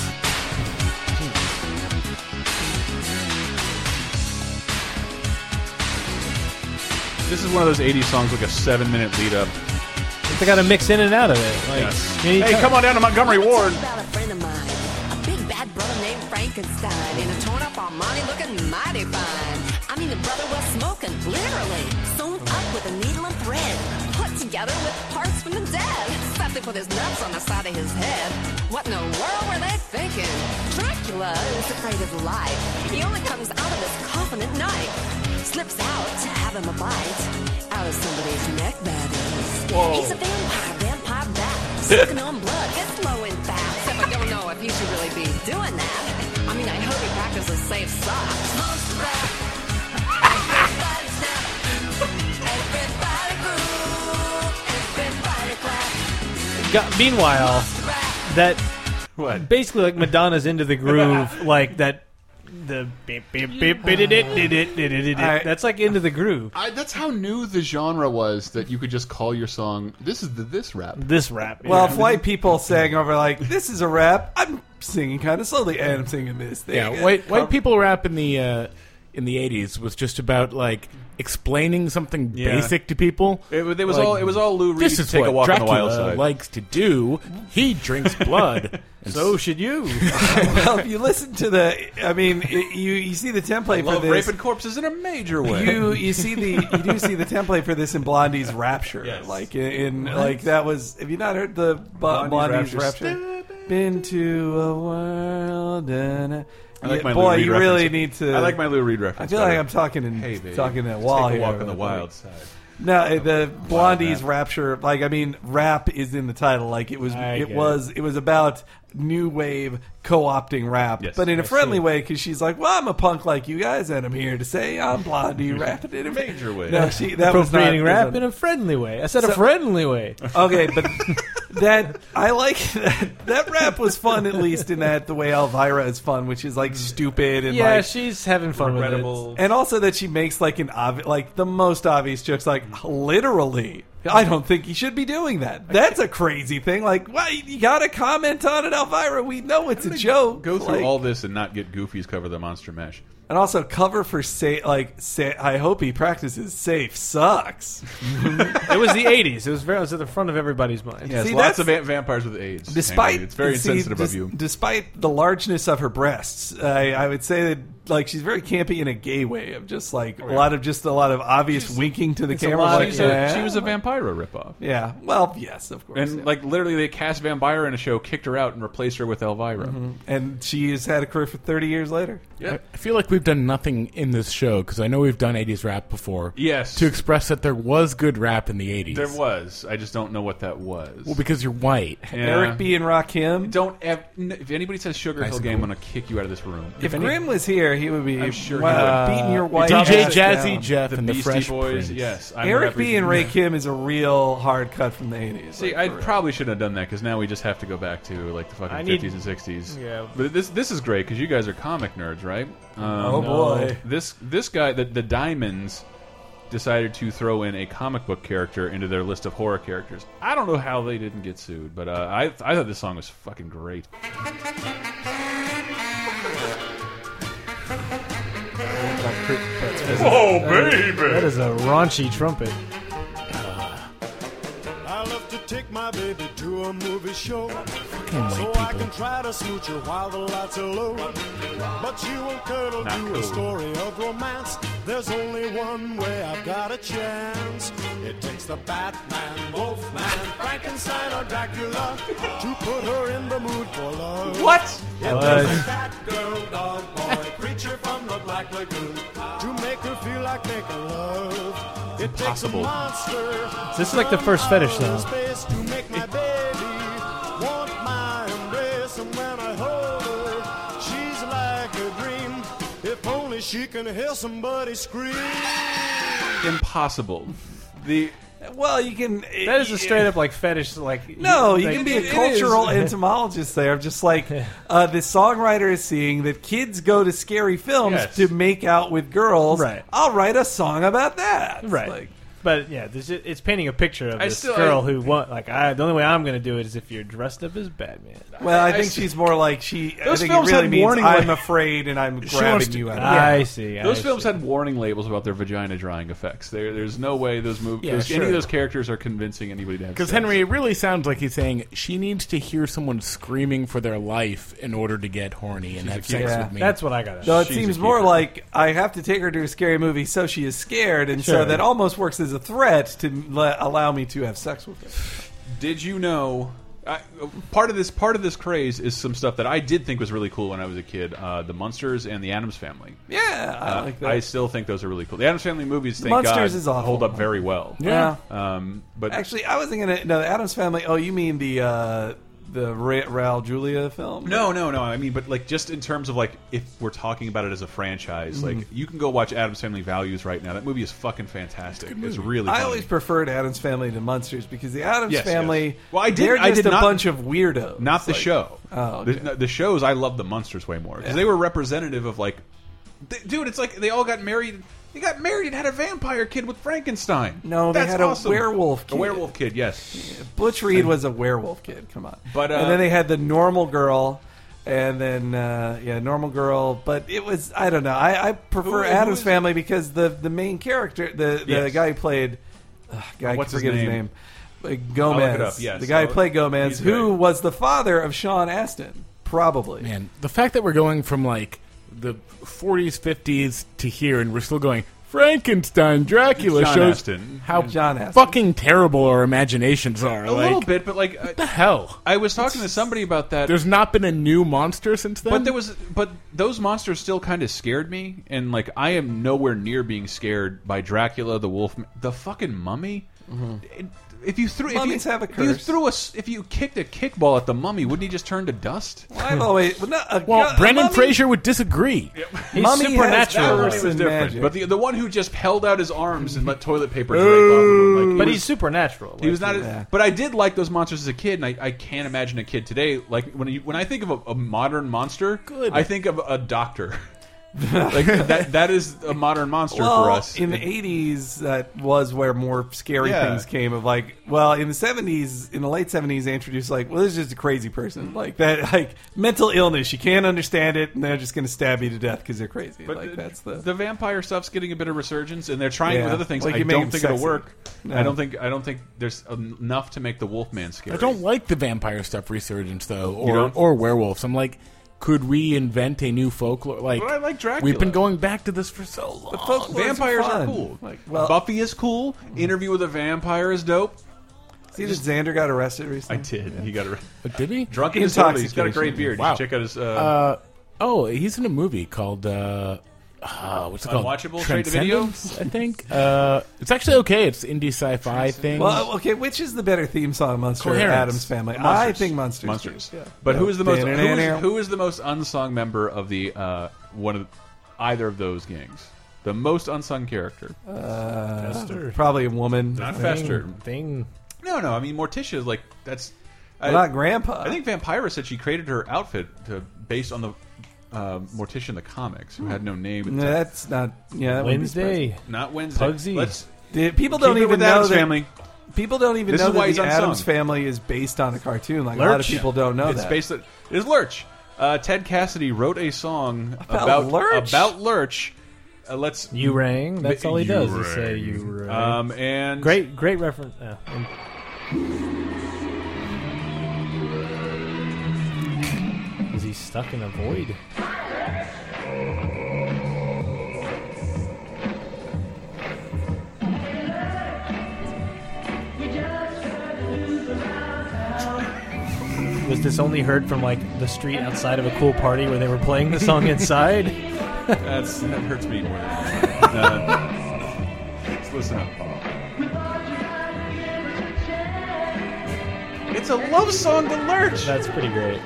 [SPEAKER 2] This is one of those 80s songs with like a seven minute lead up.
[SPEAKER 4] They got to mix in and out of it. Like,
[SPEAKER 2] Yes.
[SPEAKER 4] you need
[SPEAKER 2] Hey,
[SPEAKER 4] time.
[SPEAKER 2] come on down to Montgomery Ward.
[SPEAKER 16] about a friend of mine, a big bad brother named Frankenstein, in a torn up Armani looking mighty fine. I mean, the brother was smoking, literally, sewn up with a needle and thread, put together with parts from the dead. Except they put his nuts on the side of his head. What in the world were they thinking? Dracula is afraid of life. He only comes out of his coffin at night. Slips out to have him a bite. Out of somebody's neck, that is.
[SPEAKER 14] Whoa.
[SPEAKER 16] He's a vampire, vampire bat. Sucking on blood, it's low and fast. Except I don't know if he should really be doing that. I mean, I hope he practices safe socks.
[SPEAKER 4] Got- meanwhile, that
[SPEAKER 2] what
[SPEAKER 4] basically like Madonna's into the groove, like that. The beep, beep, beep, beep, did it, did it, did it, did it.
[SPEAKER 2] I-
[SPEAKER 4] that's like into the groove.
[SPEAKER 17] I, that's how new the genre was that you could just call your song. This is the this rap.
[SPEAKER 4] This rap.
[SPEAKER 3] Well, if white people sang over like this is a rap, I'm singing kind of slowly and I'm singing this thing.
[SPEAKER 5] Yeah, white white people rap in the uh, in the eighties was just about like explaining something
[SPEAKER 2] Yeah.
[SPEAKER 5] basic to people.
[SPEAKER 2] It wa- it was all- it was all Lou Reed's
[SPEAKER 5] This is
[SPEAKER 2] Take a Walk
[SPEAKER 5] what
[SPEAKER 2] on the
[SPEAKER 5] Dracula
[SPEAKER 2] Wild Side."
[SPEAKER 5] likes to do. He drinks blood. and
[SPEAKER 4] so should you.
[SPEAKER 3] well, if you listen to the, I mean, it, you you see the template
[SPEAKER 2] Love
[SPEAKER 3] for this.
[SPEAKER 2] raping corpses in a major way.
[SPEAKER 3] You you see the you do see the template for this in Blondie's Rapture, like in, in
[SPEAKER 2] What?
[SPEAKER 3] like that was. Have you not heard the Bo-
[SPEAKER 2] Blondie's
[SPEAKER 3] Blondie's,
[SPEAKER 2] Rapture.
[SPEAKER 3] Rapture? Been to a world and a-
[SPEAKER 2] I like
[SPEAKER 3] Yeah,
[SPEAKER 2] my Lou
[SPEAKER 3] boy,
[SPEAKER 2] Reed
[SPEAKER 3] you
[SPEAKER 2] reference.
[SPEAKER 3] really need to.
[SPEAKER 2] I like my Lou Reed reference
[SPEAKER 3] I feel like
[SPEAKER 2] better.
[SPEAKER 3] I'm talking in
[SPEAKER 2] Hey, baby,
[SPEAKER 3] talking in a
[SPEAKER 2] let's
[SPEAKER 3] wall
[SPEAKER 2] take a
[SPEAKER 3] here.
[SPEAKER 2] walk on the wild side.
[SPEAKER 3] No, eh, the Blondie's Rapture, like I mean, rap is in the title. Like it was,
[SPEAKER 2] I
[SPEAKER 3] it
[SPEAKER 2] get
[SPEAKER 3] was, it. was about new wave co-opting rap, but in a
[SPEAKER 2] I
[SPEAKER 3] friendly way because she's like, "Well, I'm a punk like you guys, and I'm here to say I'm Blondie rapping in a major
[SPEAKER 2] way."
[SPEAKER 3] No, she that was not
[SPEAKER 4] Appropriating rap
[SPEAKER 3] was
[SPEAKER 4] in a friendly way. I said
[SPEAKER 3] So-
[SPEAKER 4] a friendly way.
[SPEAKER 3] Okay, but that I like that that rap was fun at least in that the way Elvira is fun, which is like stupid and
[SPEAKER 4] yeah,
[SPEAKER 3] like
[SPEAKER 4] she's having fun with it.
[SPEAKER 3] and also that she makes like an obvi- like the most obvious jokes, like literally. I don't think he should be doing that. That's a crazy thing. Like, why you got to comment on it, Elvira? We know it's a joke.
[SPEAKER 2] Go through
[SPEAKER 3] Like-
[SPEAKER 2] all this and not get Goofy's cover of the Monster Mash.
[SPEAKER 3] and also cover for say like say. I hope he practices safe sucks.
[SPEAKER 4] it was the '80s. It was very. It was at the front of everybody's mind.
[SPEAKER 2] Yes, lots of va- vampires with AIDS.
[SPEAKER 3] Despite
[SPEAKER 2] Andrew. it's very
[SPEAKER 3] see,
[SPEAKER 2] insensitive
[SPEAKER 3] des-
[SPEAKER 2] of you.
[SPEAKER 3] Despite the largeness of her breasts, I, I would say that like she's very campy in a gay way of just like a lot of just a lot of obvious winking to the
[SPEAKER 2] Oh, It's a
[SPEAKER 3] camera.
[SPEAKER 2] lot-
[SPEAKER 3] like,
[SPEAKER 2] she's a-
[SPEAKER 3] yeah.
[SPEAKER 2] she was a vampira ripoff.
[SPEAKER 3] Yeah. Well, yes, of course.
[SPEAKER 2] And like literally, they cast Vampire in a show, kicked her out, and replaced her with Elvira.
[SPEAKER 3] Mhm. And she has had a career for thirty years later.
[SPEAKER 5] I- I feel like we've done nothing in this show because I know we've done '80s rap before.
[SPEAKER 2] Yes.
[SPEAKER 5] to express that there was good rap in the '80s.
[SPEAKER 2] There was. I just don't know what that was.
[SPEAKER 5] Well, because you're white.
[SPEAKER 3] Eric B. and Rakim.
[SPEAKER 2] Don't ev- n- if anybody says Sugar
[SPEAKER 5] Nice
[SPEAKER 2] Hill
[SPEAKER 5] and
[SPEAKER 2] Gang, I'm
[SPEAKER 5] cool.
[SPEAKER 2] gonna kick you out of this room.
[SPEAKER 3] If, Grim was here, he would be
[SPEAKER 2] I'm sure he
[SPEAKER 3] wow,
[SPEAKER 2] would.
[SPEAKER 3] beating your
[SPEAKER 2] Uh,
[SPEAKER 3] white
[SPEAKER 5] DJ
[SPEAKER 3] ass
[SPEAKER 5] Jazzy
[SPEAKER 3] down.
[SPEAKER 5] Jeff The and the Beastie Fresh Boys, Prince.
[SPEAKER 2] yes, I'm
[SPEAKER 3] Eric B. and Ray
[SPEAKER 2] representing-
[SPEAKER 3] Kim is a real hard cut from the eighties.
[SPEAKER 2] See, I probably shouldn't have done that because now we just have to go back to like the
[SPEAKER 3] I
[SPEAKER 2] fucking
[SPEAKER 3] need-
[SPEAKER 2] fifties and sixties.
[SPEAKER 3] Yeah.
[SPEAKER 2] but this this is great because you guys are comic nerds, right? Um,
[SPEAKER 3] Oh, boy.
[SPEAKER 2] This this guy, the the Diamonds, decided to throw in a comic book character into their list of horror characters. I don't know how they didn't get sued, but uh, I I thought this song was fucking great.
[SPEAKER 4] Oh,
[SPEAKER 14] baby.
[SPEAKER 4] That is a raunchy trumpet.
[SPEAKER 18] Uh, I love to take my baby to a movie show.
[SPEAKER 4] white
[SPEAKER 18] So I can try to smooch her while the lights are low. But you won't cuddle
[SPEAKER 2] Not
[SPEAKER 18] to
[SPEAKER 2] cool.
[SPEAKER 18] a story of romance. There's only one way I've got a chance. It takes the Batman, Wolfman, Frankenstein, or Dracula to put her in the mood for love.
[SPEAKER 14] What?
[SPEAKER 18] It
[SPEAKER 14] What?
[SPEAKER 18] takes that girl, dog, boy, creature from the Black Lagoon to make her feel like making love. It takes a
[SPEAKER 4] impossible.
[SPEAKER 18] monster
[SPEAKER 4] This is like the first fetish song.
[SPEAKER 18] space to make my baby want my embrace. And when I hold her, she's like a dream. If only she can hear somebody scream.
[SPEAKER 2] Impossible. The
[SPEAKER 3] well, you can.
[SPEAKER 4] That is a straight up like fetish. Like
[SPEAKER 3] No, you
[SPEAKER 4] like-
[SPEAKER 3] can be
[SPEAKER 4] It
[SPEAKER 3] a
[SPEAKER 4] is.
[SPEAKER 3] cultural entomologist there. I'm just like uh, the songwriter is seeing that kids go to scary films
[SPEAKER 4] Yes.
[SPEAKER 3] to make out with girls.
[SPEAKER 4] Right.
[SPEAKER 3] I'll write a song about that. Right.
[SPEAKER 4] but yeah, this is, it's painting a picture of
[SPEAKER 2] I
[SPEAKER 4] this
[SPEAKER 2] still-
[SPEAKER 4] girl
[SPEAKER 2] I-
[SPEAKER 4] who want like I. The only way I'm going to do it is if you're dressed up as Batman.
[SPEAKER 3] Well, I, think she's more like she. I
[SPEAKER 2] Those
[SPEAKER 3] think it
[SPEAKER 2] films
[SPEAKER 3] really
[SPEAKER 2] had
[SPEAKER 3] means
[SPEAKER 2] warning
[SPEAKER 3] I'm
[SPEAKER 2] labels.
[SPEAKER 3] afraid and I'm
[SPEAKER 2] She
[SPEAKER 3] grabbing
[SPEAKER 2] wants to-
[SPEAKER 3] you. Out.
[SPEAKER 2] yeah.
[SPEAKER 4] I see, I
[SPEAKER 2] those films had warning labels about their vagina drying effects. There, there's no way those mov
[SPEAKER 5] Yeah,
[SPEAKER 2] those- any
[SPEAKER 5] sure.
[SPEAKER 2] of those characters are convincing anybody to have.
[SPEAKER 5] Because
[SPEAKER 2] sex.
[SPEAKER 5] Henry, it really sounds like he's saying she needs to hear someone screaming for their life in order to get horny and
[SPEAKER 2] She's a
[SPEAKER 5] have sex
[SPEAKER 3] keeper.
[SPEAKER 5] with me.
[SPEAKER 4] That's what I got.
[SPEAKER 3] No, it seems more like I have to take her to a scary movie so she is scared, and so
[SPEAKER 2] Sure.
[SPEAKER 3] that almost works as a threat to le- allow me to have sex with her.
[SPEAKER 2] Did you know? I, part of this part of this craze is some stuff that I did think was really cool when I was a kid. Uh, the Munsters and the Adams Family.
[SPEAKER 3] Yeah, I
[SPEAKER 2] Uh,
[SPEAKER 3] like that.
[SPEAKER 2] I still think those are really cool. The Adams Family movies,
[SPEAKER 3] The
[SPEAKER 2] thank
[SPEAKER 3] Munsters
[SPEAKER 2] God,
[SPEAKER 3] is awful.
[SPEAKER 2] hold up very well.
[SPEAKER 3] Yeah.
[SPEAKER 2] Um, but
[SPEAKER 3] Actually, I wasn't gonna. No, the Adams Family. Oh, you mean the uh, the Ra- Raul Julia film?
[SPEAKER 2] No, no, no. I mean, but like just in terms of like if we're talking about it as a franchise,
[SPEAKER 3] Mhm.
[SPEAKER 2] like you can go watch Adam's Family Values right now. That movie is fucking fantastic. It's, really.
[SPEAKER 3] I
[SPEAKER 2] funny.
[SPEAKER 3] always preferred Adams Family to Munsters because the Adams
[SPEAKER 2] Yes, yes.
[SPEAKER 3] Family.
[SPEAKER 2] Well, I did.
[SPEAKER 3] They're
[SPEAKER 2] I
[SPEAKER 3] just
[SPEAKER 2] did
[SPEAKER 3] a
[SPEAKER 2] not-
[SPEAKER 3] bunch of weirdos.
[SPEAKER 2] Not the
[SPEAKER 3] Like,
[SPEAKER 2] show.
[SPEAKER 3] Oh, okay.
[SPEAKER 2] the, the shows I love the monsters way more because they were representative of like, th- dude. It's like they all got married. They got married and had a vampire kid with Frankenstein.
[SPEAKER 3] No, they
[SPEAKER 2] That's
[SPEAKER 3] had a
[SPEAKER 2] awesome.
[SPEAKER 3] werewolf
[SPEAKER 2] A
[SPEAKER 3] kid.
[SPEAKER 2] werewolf kid. Yes.
[SPEAKER 3] Butch Reed was a werewolf kid. Come on.
[SPEAKER 2] But, uh,
[SPEAKER 3] and then they had the normal girl, and then uh, yeah, normal girl. But it was I don't know. I, I prefer
[SPEAKER 2] Who- who
[SPEAKER 3] Adam's
[SPEAKER 2] is-
[SPEAKER 3] Family because the the main character, the the
[SPEAKER 2] Yes.
[SPEAKER 3] guy who played, uh, guy I
[SPEAKER 2] What's his
[SPEAKER 3] forget his
[SPEAKER 2] name?
[SPEAKER 3] name, Uh,
[SPEAKER 2] I'll
[SPEAKER 3] Gomez.
[SPEAKER 2] look it up, yes.
[SPEAKER 3] the guy
[SPEAKER 2] I'll-
[SPEAKER 3] who played Gomez,
[SPEAKER 2] he's
[SPEAKER 3] who was the father of Sean Astin, probably.
[SPEAKER 5] Man, the fact that we're going from like the 40s, 50s to here, and we're still going Frankenstein, Dracula
[SPEAKER 2] John
[SPEAKER 5] shows
[SPEAKER 2] Astin.
[SPEAKER 5] how
[SPEAKER 3] John Astin.
[SPEAKER 5] fucking terrible our imaginations are.
[SPEAKER 2] A
[SPEAKER 5] like,
[SPEAKER 2] little bit, but like what
[SPEAKER 5] the hell?
[SPEAKER 2] I was talking to somebody about that.
[SPEAKER 5] There's not been a new monster since then.
[SPEAKER 2] But there was, but those monsters still kind of scared me, and like I am nowhere near being scared by Dracula, the Wolf, the fucking Mummy. It- If you threw,
[SPEAKER 3] Mm-hmm. Mummies
[SPEAKER 2] if you,
[SPEAKER 3] have a
[SPEAKER 2] if you
[SPEAKER 3] curse.
[SPEAKER 2] threw a, s- if you kicked a kickball at the Mummy, wouldn't he just turn to dust?
[SPEAKER 3] I've always well, not a,
[SPEAKER 5] well,
[SPEAKER 3] a
[SPEAKER 5] Brendan
[SPEAKER 3] mummy-
[SPEAKER 5] Fraser would disagree.
[SPEAKER 3] He's Mummy has supernatural. powers
[SPEAKER 2] That one was
[SPEAKER 3] and
[SPEAKER 2] different.
[SPEAKER 3] magic.
[SPEAKER 2] But the the one who just held out his arms and let toilet paper drape off of him, like,
[SPEAKER 4] But
[SPEAKER 2] he
[SPEAKER 4] he's
[SPEAKER 2] was-
[SPEAKER 4] supernatural.
[SPEAKER 2] He was not,
[SPEAKER 4] Yeah.
[SPEAKER 2] but I did like those monsters as a kid, and I, I can't imagine a kid today. Like when you, when I think of a, a modern monster,
[SPEAKER 5] Good.
[SPEAKER 2] I think of a doctor. like that that is a modern monster
[SPEAKER 3] well,
[SPEAKER 2] for us.
[SPEAKER 3] In the 80s, that was where more scary
[SPEAKER 2] Yeah.
[SPEAKER 3] things came. Of like, well, in the 70s, in the late 70s, they introduced like, well, this is just a crazy person, like that, like mental illness. You can't understand it, and they're just going to stab you to death because they're crazy.
[SPEAKER 2] but
[SPEAKER 3] like
[SPEAKER 2] the,
[SPEAKER 3] that's the
[SPEAKER 2] the vampire stuff's getting a bit of resurgence, and they're trying with
[SPEAKER 3] Yeah.
[SPEAKER 2] other things.
[SPEAKER 3] Like
[SPEAKER 2] I
[SPEAKER 3] you make
[SPEAKER 2] don't
[SPEAKER 3] him
[SPEAKER 2] think it'll
[SPEAKER 3] sexy.
[SPEAKER 2] work.
[SPEAKER 3] No.
[SPEAKER 2] I don't think I don't think there's enough to make the Wolfman scary.
[SPEAKER 5] I don't like the vampire stuff resurgence though,
[SPEAKER 2] You
[SPEAKER 5] or
[SPEAKER 2] don't?
[SPEAKER 5] or werewolves. I'm like, could we invent a new folklore? Like,
[SPEAKER 2] But I like Dracula.
[SPEAKER 5] We've been going back to this for so long.
[SPEAKER 2] Vampires are
[SPEAKER 3] fun.
[SPEAKER 2] cool.
[SPEAKER 3] Like, well- Mm-hmm.
[SPEAKER 2] Buffy is cool. Interview with a Vampire is dope.
[SPEAKER 3] see that Xander got arrested
[SPEAKER 2] I
[SPEAKER 3] recently.
[SPEAKER 2] did. He got a
[SPEAKER 5] But did he?
[SPEAKER 2] drunk in his
[SPEAKER 3] Intoxication.
[SPEAKER 2] totally. He's got a great beard. You
[SPEAKER 5] Wow.
[SPEAKER 2] should check out his. Uh,
[SPEAKER 5] Uh, oh, he's in a movie called uh, uh, what's it called?
[SPEAKER 2] Unwatchable, straight to video?
[SPEAKER 5] Transcendence, I think uh, it's actually okay. It's indie sci-fi thing.
[SPEAKER 3] Well, uh, okay, which is the better theme song, Monster or
[SPEAKER 5] Coherence.
[SPEAKER 3] Adam's Family? I
[SPEAKER 2] Monsters.
[SPEAKER 3] think Monsters.
[SPEAKER 2] Monsters.
[SPEAKER 3] Yeah.
[SPEAKER 2] But who is the most? Who
[SPEAKER 3] Da-na-na-na.
[SPEAKER 2] is, who is the most unsung member of the uh, one of either of those gangs? The most unsung character?
[SPEAKER 3] Uh,
[SPEAKER 4] Fester.
[SPEAKER 3] probably a woman.
[SPEAKER 2] Not Fester.
[SPEAKER 4] thing.
[SPEAKER 2] No, no. I mean, Morticia is like that's. I,
[SPEAKER 3] Well, not Grandpa.
[SPEAKER 2] I think Vampira said she created her outfit to based on the uh, Morticia in the comics, who
[SPEAKER 3] Hmm.
[SPEAKER 2] had no name. at
[SPEAKER 3] No,
[SPEAKER 2] the time.
[SPEAKER 3] that's not. Yeah, that wouldn't be surprising.
[SPEAKER 4] Wednesday.
[SPEAKER 2] Not Wednesday.
[SPEAKER 4] Pugsy.
[SPEAKER 2] Let's
[SPEAKER 3] The- people
[SPEAKER 2] keep
[SPEAKER 3] don't
[SPEAKER 2] it
[SPEAKER 3] even
[SPEAKER 2] with
[SPEAKER 3] know
[SPEAKER 2] Addams
[SPEAKER 3] that-
[SPEAKER 2] family.
[SPEAKER 3] People don't even
[SPEAKER 2] This
[SPEAKER 3] know
[SPEAKER 2] is why
[SPEAKER 3] that
[SPEAKER 2] he's
[SPEAKER 3] the
[SPEAKER 2] unsung.
[SPEAKER 3] Adams Family is based on a cartoon. Like a lot of
[SPEAKER 4] Lurch.
[SPEAKER 3] people don't know
[SPEAKER 2] it's
[SPEAKER 3] that.
[SPEAKER 2] based on it's Lurch. Uh, Ted Cassidy wrote a song about
[SPEAKER 3] Lurch?
[SPEAKER 2] About Lurch. Uh, let's
[SPEAKER 4] You rang. That's all he
[SPEAKER 2] You
[SPEAKER 4] does. Is say
[SPEAKER 2] rang.
[SPEAKER 4] you rang.
[SPEAKER 2] um and
[SPEAKER 4] great, great reference. Uh, and- is he stuck in a void? Was this only heard from like the street outside of a cool party where they were playing the song inside?
[SPEAKER 2] That's, that hurts me more than uh, Let's listen up. It's a love song to Lurch.
[SPEAKER 4] That's pretty great.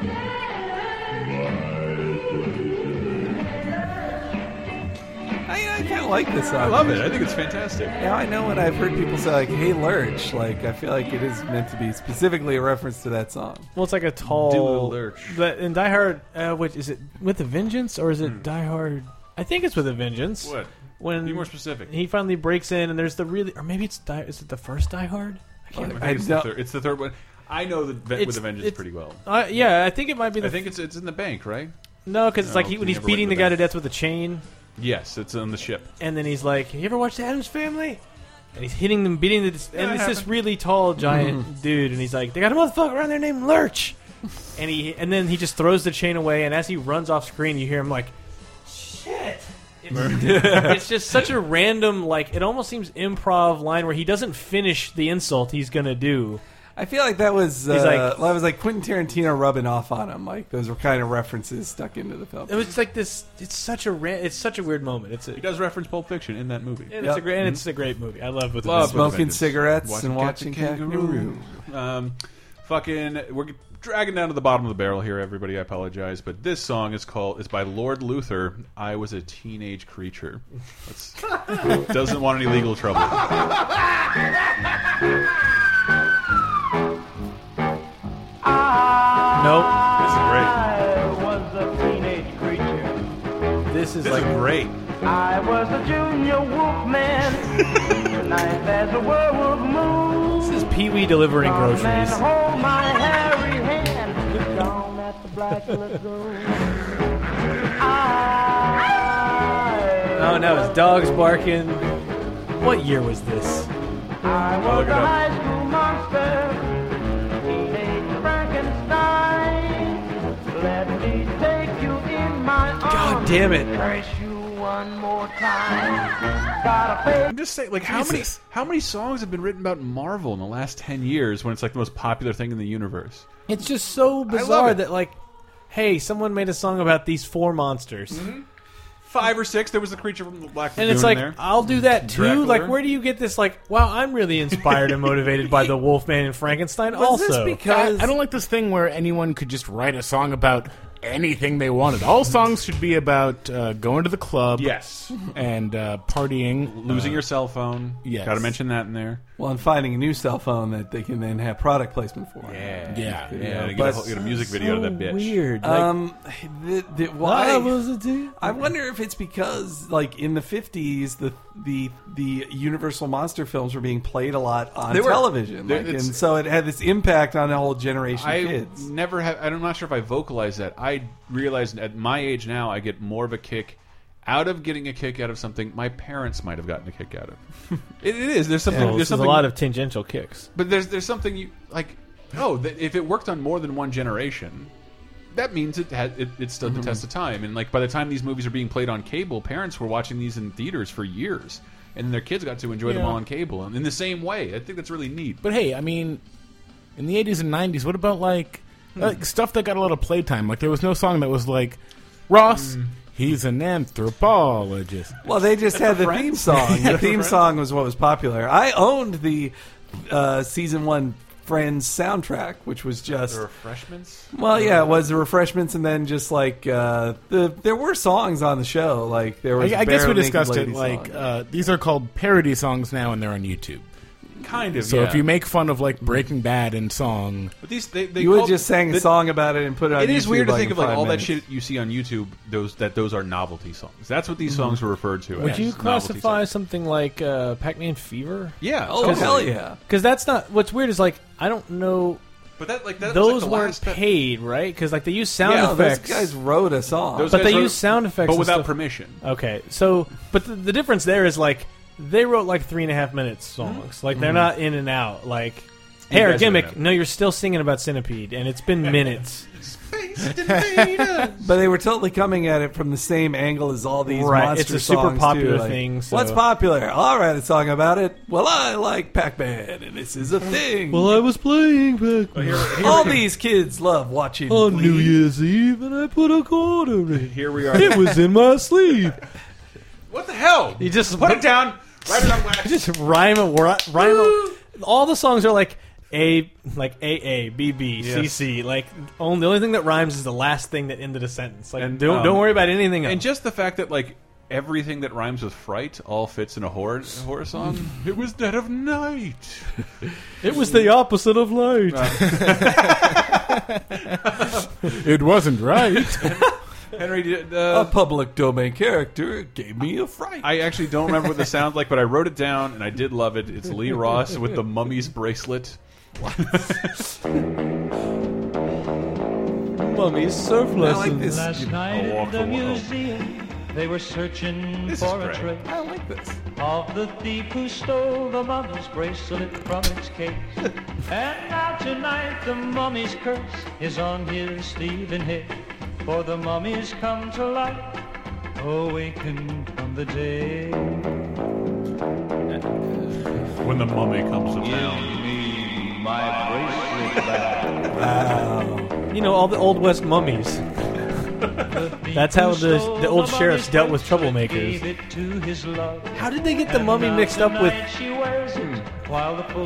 [SPEAKER 3] I, I kind of like this song.
[SPEAKER 2] I love it. I think it's fantastic.
[SPEAKER 3] Now I know when I've heard people say like, "Hey, Lurch," like I feel like it is meant to be specifically a reference to that song.
[SPEAKER 4] Well, it's like a tall
[SPEAKER 2] Do a lurch.
[SPEAKER 4] But in Die Hard, uh, which is it with a Vengeance or is it Die Hard? I think it's with a Vengeance.
[SPEAKER 2] Hmm. What?
[SPEAKER 4] when
[SPEAKER 2] Be more specific.
[SPEAKER 4] He finally breaks in, and there's the really, or maybe it's die, is it the first Die Hard? I
[SPEAKER 2] I think
[SPEAKER 4] remember.
[SPEAKER 2] it's, the third, it's the third one. I know the Vet with
[SPEAKER 4] It's-
[SPEAKER 2] a Vengeance
[SPEAKER 4] it's-
[SPEAKER 2] pretty well.
[SPEAKER 4] Uh, yeah, I think it might be. The
[SPEAKER 2] I think it's it's in the bank, right?
[SPEAKER 4] no, because it's like he,
[SPEAKER 2] No,
[SPEAKER 4] when
[SPEAKER 2] he
[SPEAKER 4] he's
[SPEAKER 2] never
[SPEAKER 4] beating the
[SPEAKER 2] went
[SPEAKER 4] guy
[SPEAKER 2] to
[SPEAKER 4] to death with a chain,
[SPEAKER 2] Yes, it's on the ship.
[SPEAKER 4] and then he's like, "You ever watch The Adams Family?" And he's hitting them, beating the,
[SPEAKER 2] Yeah,
[SPEAKER 4] and
[SPEAKER 2] it
[SPEAKER 4] it's this
[SPEAKER 2] happened.
[SPEAKER 4] really tall, giant dude, and he's like, "They got a motherfucker around there named Lurch," and he, and then he just throws the chain away, and as he runs off screen, you hear him like, "Shit." it's just such a random like it almost seems improv line where he doesn't finish the insult he's gonna do
[SPEAKER 3] I feel like that was uh,
[SPEAKER 4] He's like-
[SPEAKER 3] well, that was like Quentin Tarantino rubbing off on him. Like those were kind of references stuck into the film.
[SPEAKER 4] it was like this it's such a ra- it's such a weird moment it's a,
[SPEAKER 2] He does reference Pulp Fiction in that movie.
[SPEAKER 4] and it's a great and it's a great movie i love with
[SPEAKER 2] Love
[SPEAKER 4] Vince
[SPEAKER 2] with a
[SPEAKER 4] Vaughn.
[SPEAKER 3] Smoking cigarettes and
[SPEAKER 2] Cats
[SPEAKER 3] watching Kangaroo.
[SPEAKER 2] Um, fucking, we're dragging down to the bottom of the barrel here, everybody. I apologize, but this song is called is by Lord Luther. I was a teenage creature. That's, who doesn't want any legal trouble. Nope.
[SPEAKER 14] was a teenage creature.
[SPEAKER 4] this is
[SPEAKER 2] This
[SPEAKER 4] like
[SPEAKER 2] is great.
[SPEAKER 14] I was a junior wolfman. Tonight there's a werewolf moon.
[SPEAKER 4] this is pee-wee delivering
[SPEAKER 14] Man,
[SPEAKER 4] groceries
[SPEAKER 14] hold my hairy hand. Look down at the black lagoon. Uh.
[SPEAKER 4] oh no his dog's barking what year was this
[SPEAKER 14] I was
[SPEAKER 4] look it
[SPEAKER 14] a
[SPEAKER 4] up.
[SPEAKER 14] high school monster. Teenage Frankenstein. Let me take you in my arms.
[SPEAKER 4] God damn it.
[SPEAKER 14] Press you one more time. Got a
[SPEAKER 2] I'm just saying, like, how many how many songs have been written about Marvel in the last ten years when it's like the most popular thing in the universe?
[SPEAKER 4] it's just so bizarre that like hey someone made a song about these four monsters
[SPEAKER 2] Five or six. There was the creature from the Black Lagoon
[SPEAKER 4] and it's
[SPEAKER 2] in
[SPEAKER 4] like
[SPEAKER 2] there.
[SPEAKER 4] I'll do that too.
[SPEAKER 2] Dracula.
[SPEAKER 4] Like, where do you get this? Like, wow, I'm really inspired and motivated by the Wolfman and Frankenstein. also,
[SPEAKER 5] I, I don't like this thing where anyone could just write a song about anything they wanted. All songs should be about uh, going to the club,
[SPEAKER 2] Yes.
[SPEAKER 5] and uh, partying,
[SPEAKER 2] Losing
[SPEAKER 5] uh,
[SPEAKER 2] your cell phone.
[SPEAKER 5] yes.
[SPEAKER 2] Got to mention that in there.
[SPEAKER 3] Well, and finding a new cell phone that they can then have product placement for. Yeah,
[SPEAKER 5] Yeah.
[SPEAKER 2] Yeah, they get a whole- get a music video to that bitch.
[SPEAKER 4] Weird. Like,
[SPEAKER 3] Um, the, the, why
[SPEAKER 4] I was a dude.
[SPEAKER 3] I wonder if it's because, like, in the fifties, the the the Universal monster films were being played a lot on
[SPEAKER 2] They were.
[SPEAKER 3] television,
[SPEAKER 2] They-
[SPEAKER 3] like,
[SPEAKER 2] it's-
[SPEAKER 3] and so it had this impact on a whole generation
[SPEAKER 2] I
[SPEAKER 3] of kids.
[SPEAKER 2] never have. I'm not sure if I vocalized that. I realized at my age now, I get more of a kick out of getting a kick out of something my parents might have gotten a kick out of. it, it is. There's something.
[SPEAKER 4] Well,
[SPEAKER 2] there's
[SPEAKER 4] there's a
[SPEAKER 2] something.
[SPEAKER 4] lot of tangential kicks.
[SPEAKER 2] But there's there's something you like. Oh, that if it worked on more than one generation, that means it had it, it stood
[SPEAKER 4] Mm-hmm.
[SPEAKER 2] the test of time. And like by the time these movies are being played on cable, parents were watching these in theaters for years, and their kids got to enjoy them
[SPEAKER 5] Yeah.
[SPEAKER 2] all on cable. And in the same way, I think that's really neat.
[SPEAKER 5] But hey, I mean, in the '80s and '90s, what about like,
[SPEAKER 3] Hmm.
[SPEAKER 5] like stuff that got a lot of playtime? Like there was no song that was like Ross.
[SPEAKER 3] Hmm.
[SPEAKER 5] He's an anthropologist.
[SPEAKER 3] Well, they just had the
[SPEAKER 2] Friends.
[SPEAKER 3] theme song.
[SPEAKER 2] Yeah,
[SPEAKER 3] The theme
[SPEAKER 2] Friends.
[SPEAKER 3] song was what was popular. I owned the uh, season one Friends soundtrack, which was just
[SPEAKER 2] The refreshments.
[SPEAKER 3] well, yeah, it was the refreshments, and then just like uh, the there were songs on the show. Like there was,
[SPEAKER 5] I, I guess
[SPEAKER 3] Bare
[SPEAKER 5] we
[SPEAKER 3] Naked
[SPEAKER 5] discussed it.
[SPEAKER 3] Lady
[SPEAKER 5] Like
[SPEAKER 3] song.
[SPEAKER 5] uh, these are called parody songs now, and they're on YouTube.
[SPEAKER 2] Kind of.
[SPEAKER 5] So
[SPEAKER 2] yeah.
[SPEAKER 5] if you make fun of like Breaking Bad and song,
[SPEAKER 2] But these they, they
[SPEAKER 3] you would
[SPEAKER 2] call-
[SPEAKER 3] just sang a
[SPEAKER 2] the-
[SPEAKER 3] song about it and put it on.
[SPEAKER 2] It is
[SPEAKER 3] YouTube,
[SPEAKER 2] weird to
[SPEAKER 3] like,
[SPEAKER 2] think
[SPEAKER 3] in
[SPEAKER 2] of like
[SPEAKER 3] five
[SPEAKER 2] all
[SPEAKER 3] minutes.
[SPEAKER 2] that shit you see on YouTube. Those that those are novelty songs. That's what these songs were referred to.
[SPEAKER 4] Mm-hmm. Would
[SPEAKER 2] as,
[SPEAKER 4] you
[SPEAKER 2] novelty
[SPEAKER 4] classify
[SPEAKER 2] songs.
[SPEAKER 4] something like uh, Pac-Man Fever?
[SPEAKER 2] Yeah.
[SPEAKER 3] Oh
[SPEAKER 2] totally.
[SPEAKER 3] hell yeah!
[SPEAKER 4] Because that's not what's weird is like I don't know.
[SPEAKER 2] But that like that was,
[SPEAKER 4] those
[SPEAKER 2] like, the
[SPEAKER 4] weren't
[SPEAKER 2] last bit-
[SPEAKER 4] paid, right? Because like they use sound
[SPEAKER 3] Yeah, those
[SPEAKER 4] effects.
[SPEAKER 3] guys wrote a song.
[SPEAKER 2] Those
[SPEAKER 4] But
[SPEAKER 2] guys
[SPEAKER 4] they
[SPEAKER 2] wrote-
[SPEAKER 4] use sound effects
[SPEAKER 2] but
[SPEAKER 4] and
[SPEAKER 2] without
[SPEAKER 4] stuff. Uh,
[SPEAKER 2] permission.
[SPEAKER 4] Okay, so but the, the difference there is like they wrote like three and a half minutes songs. Like they're not in and out. Like
[SPEAKER 2] You
[SPEAKER 4] hair
[SPEAKER 2] guys are
[SPEAKER 4] gimmick.
[SPEAKER 2] in
[SPEAKER 4] No, you're still singing about centipede, and it's been minutes.
[SPEAKER 3] But they were totally coming at it from the same angle as all these
[SPEAKER 4] Right,
[SPEAKER 3] monster
[SPEAKER 4] it's a super
[SPEAKER 3] songs, too,
[SPEAKER 4] popular
[SPEAKER 3] like,
[SPEAKER 4] thing, so-
[SPEAKER 3] What's popular? I'll write a song about it. Well, I like Pac-Man, and this is a thing.
[SPEAKER 4] I was playing Pac-Man
[SPEAKER 3] all these kids love watching.
[SPEAKER 4] Oh,
[SPEAKER 3] Glee.
[SPEAKER 4] Year's Eve, and I put a quarter in.
[SPEAKER 2] Here we are.
[SPEAKER 4] was in my sleeve.
[SPEAKER 2] what the hell?
[SPEAKER 4] You just
[SPEAKER 2] put it down. Write it on wax.
[SPEAKER 4] just rhyme a wor- rhyme. A, all the songs are like a like a a b b c c. Like only the only thing that rhymes is the last thing that ended a sentence. Like
[SPEAKER 2] And,
[SPEAKER 4] don't
[SPEAKER 2] um,
[SPEAKER 4] don't worry about anything else.
[SPEAKER 2] And just the fact that like everything that rhymes with fright all fits in a horror horror song. it was dead of night.
[SPEAKER 4] it was the opposite of light.
[SPEAKER 5] it wasn't right.
[SPEAKER 2] Henry, did,
[SPEAKER 4] Oh,
[SPEAKER 2] uh,
[SPEAKER 3] a public domain character gave me a fright.
[SPEAKER 2] I actually don't remember what the sound's like, but I wrote it down and I did love it. It's Lee Ross with the mummy's bracelet.
[SPEAKER 4] Mummy's surf
[SPEAKER 2] I like
[SPEAKER 4] lessons.
[SPEAKER 2] this.
[SPEAKER 4] Last
[SPEAKER 2] night
[SPEAKER 4] night
[SPEAKER 2] walk
[SPEAKER 4] in the
[SPEAKER 2] the wall.
[SPEAKER 4] museum,
[SPEAKER 14] they were searching
[SPEAKER 4] This
[SPEAKER 14] for
[SPEAKER 4] is
[SPEAKER 14] a
[SPEAKER 4] great.
[SPEAKER 14] trace
[SPEAKER 3] I like this.
[SPEAKER 14] of the thief who stole the mummy's bracelet from its case. and now tonight the mummy's curse is on his sleeve and head, for the mummy's come to life, awakened from the dead.
[SPEAKER 2] When the mummy comes to town.
[SPEAKER 4] You know all the old west mummies. That's how the the old sheriffs dealt with troublemakers. How did they get the mummy mixed up with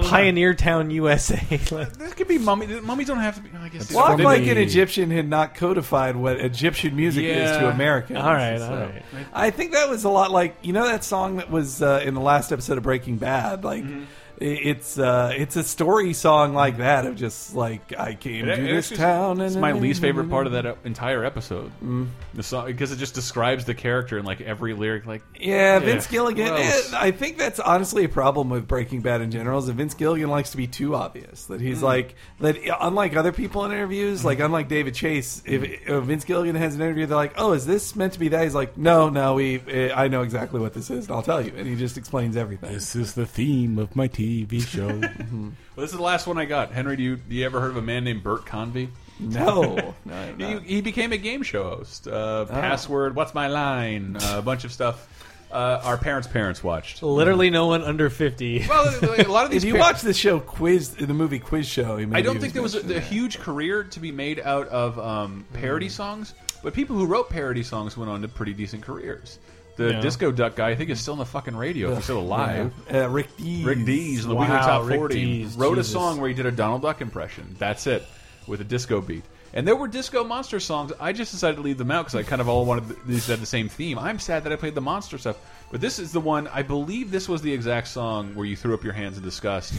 [SPEAKER 4] Pioneer Town, USA? Like,
[SPEAKER 2] This could be mummy. Mummies don't have to be. I guess. it's-
[SPEAKER 3] Walk like an Egyptian had not codified what Egyptian music is to
[SPEAKER 2] Yeah.
[SPEAKER 3] Americans.
[SPEAKER 4] All right,
[SPEAKER 3] So,
[SPEAKER 4] all right.
[SPEAKER 3] I think that was a lot like you know that song that was uh, in the last episode of Breaking Bad. Like
[SPEAKER 2] Mm-hmm.
[SPEAKER 3] i- it's uh, it's a story song like that of just like I came
[SPEAKER 2] It-
[SPEAKER 3] to
[SPEAKER 2] it
[SPEAKER 3] this
[SPEAKER 2] actually-
[SPEAKER 3] town.
[SPEAKER 2] It's
[SPEAKER 3] and-
[SPEAKER 2] my least favorite part of that uh, entire episode.
[SPEAKER 3] Mm.
[SPEAKER 2] The song because it just describes the character in like every lyric. Like
[SPEAKER 3] Yeah, Vince
[SPEAKER 2] Ugh,
[SPEAKER 3] Gilligan. eh,
[SPEAKER 2] gross.
[SPEAKER 3] I think that's honestly a problem with Breaking Bad in general is that Vince Gilligan likes to be too obvious. That he's
[SPEAKER 2] Mm.
[SPEAKER 3] like that. Unlike other people in interviews,
[SPEAKER 2] Mm-hmm.
[SPEAKER 3] like unlike David Chase, if, if Vince Gilligan has an interview, they're like, "Oh, is this meant to be that?" He's like, "No, no, we. eh, I know exactly what this is, and I'll tell you." And he just explains everything.
[SPEAKER 5] This is the theme of my TV show.
[SPEAKER 2] Well, this is the last one I got. Henry, do you, do you ever heard of a man named Bert Convey?
[SPEAKER 3] No. No, Oh. I have
[SPEAKER 2] he, he became a game show host. Uh, Password, What's My Line, uh, a bunch of stuff uh, our parents' parents watched.
[SPEAKER 4] Literally, no one under fifty.
[SPEAKER 2] Well, a lot of these
[SPEAKER 3] if you
[SPEAKER 2] par-
[SPEAKER 3] watch the show quiz, the movie quiz show, he
[SPEAKER 2] I
[SPEAKER 3] maybe
[SPEAKER 2] don't think there was
[SPEAKER 3] mentioned Mm-hmm.
[SPEAKER 2] a, a huge career to be made out of um, parody songs, but people who wrote parody songs went on to pretty decent careers. The
[SPEAKER 3] Yeah.
[SPEAKER 2] Disco Duck guy, I think, is still on the fucking radio. if He's still
[SPEAKER 3] Ugh,
[SPEAKER 2] alive.
[SPEAKER 3] yeah. Uh, Rick Dees.
[SPEAKER 2] Rick Dees, in the Weekly
[SPEAKER 3] Wow,
[SPEAKER 2] Top
[SPEAKER 3] Rick
[SPEAKER 2] 40,
[SPEAKER 3] Dees,
[SPEAKER 2] wrote
[SPEAKER 3] Jesus.
[SPEAKER 2] a song where he did a Donald Duck impression. That's it, with a disco beat. And there were disco monster songs. I just decided to leave them out because I kind of all wanted th- these to have the same theme. I'm sad that I played the monster stuff, but this is the one. I believe this was the exact song where you threw up your hands in disgust.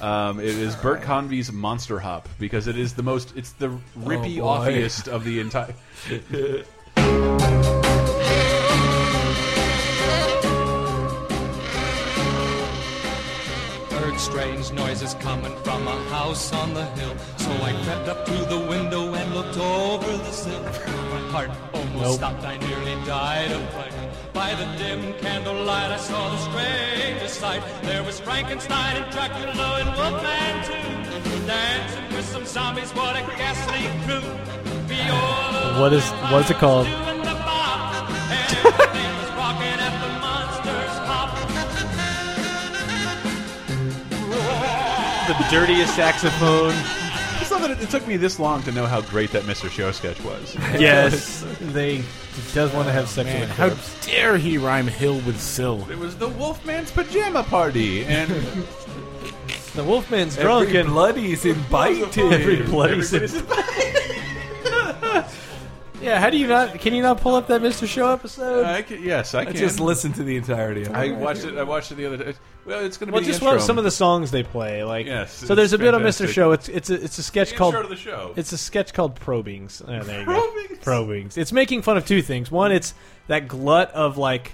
[SPEAKER 2] Um, it is Bert Convey's Monster Hop because it is the most. It's the rippy
[SPEAKER 3] Oh, boy.
[SPEAKER 2] offiest of the entire.
[SPEAKER 19] Heard strange noises coming from a house on the hill. So I crept up to the window and looked over the sill. My heart almost
[SPEAKER 4] Nope.
[SPEAKER 19] stopped. I nearly died of fright. By the dim candlelight, I saw the strangest sight. There was Frankenstein and Dracula and Wolfman too, dancing with some zombies. What a ghastly crew! Viola
[SPEAKER 4] What is what's it called?
[SPEAKER 19] in the box, and everything was rocking at the monsters pop.
[SPEAKER 2] the dirtiest saxophone. It's not that it, it took me this long to know how great that Mr. Show sketch was.
[SPEAKER 4] Yes, they does want to have sex
[SPEAKER 5] Man,
[SPEAKER 4] with a
[SPEAKER 5] how
[SPEAKER 4] corpse.
[SPEAKER 5] dare he rhyme hill with sill?
[SPEAKER 2] It was the Wolfman's pajama party, and
[SPEAKER 4] The Wolfman's
[SPEAKER 3] Every
[SPEAKER 4] drunk and
[SPEAKER 3] bloody's invited.
[SPEAKER 4] Every bloody's
[SPEAKER 2] Everybody's
[SPEAKER 4] Yeah, how do you not? Can you not pull up that Mr. Show episode?
[SPEAKER 2] I can, yes, I
[SPEAKER 3] I
[SPEAKER 2] can.
[SPEAKER 3] just listened to the entirety of it.
[SPEAKER 2] I watched it. I watched it the other day. Well, it's going to
[SPEAKER 4] Well,
[SPEAKER 2] be
[SPEAKER 4] just
[SPEAKER 2] the intro.
[SPEAKER 4] love some of the songs they play. Like,
[SPEAKER 2] Yes,
[SPEAKER 4] so
[SPEAKER 2] it's
[SPEAKER 4] there's a bit on Mr.
[SPEAKER 2] fantastic.
[SPEAKER 4] Show. It's it's a, it's a sketch
[SPEAKER 2] The intro
[SPEAKER 4] called
[SPEAKER 2] to the show.
[SPEAKER 4] It's a sketch called Probings. Oh, there you go. Probings. It's making fun of two things. One, it's that glut of like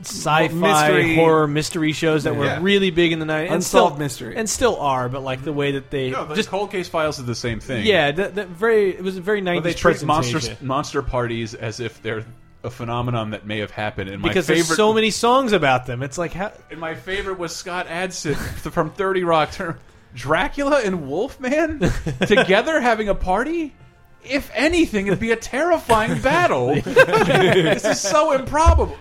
[SPEAKER 4] sci-fi
[SPEAKER 3] Mystery-
[SPEAKER 4] horror mystery shows that were
[SPEAKER 3] Yeah.
[SPEAKER 4] really big in the 90s and
[SPEAKER 3] Unsolved
[SPEAKER 4] still,
[SPEAKER 3] mystery.
[SPEAKER 4] and still are but like the way that they
[SPEAKER 2] No, the
[SPEAKER 4] just
[SPEAKER 2] cold case files is the same thing.
[SPEAKER 4] yeah that, that very it was a very 90s
[SPEAKER 2] But they treat monster
[SPEAKER 4] presentation.
[SPEAKER 2] monster parties as if they're a phenomenon that may have happened. And my
[SPEAKER 4] because
[SPEAKER 2] favorite,
[SPEAKER 4] there's so many songs about them it's like how
[SPEAKER 2] and my favorite was Scott Adson from Thirty Rock. Turn- Dracula and Wolfman together having a party. If anything, it'd be a terrifying battle. this is so improbable.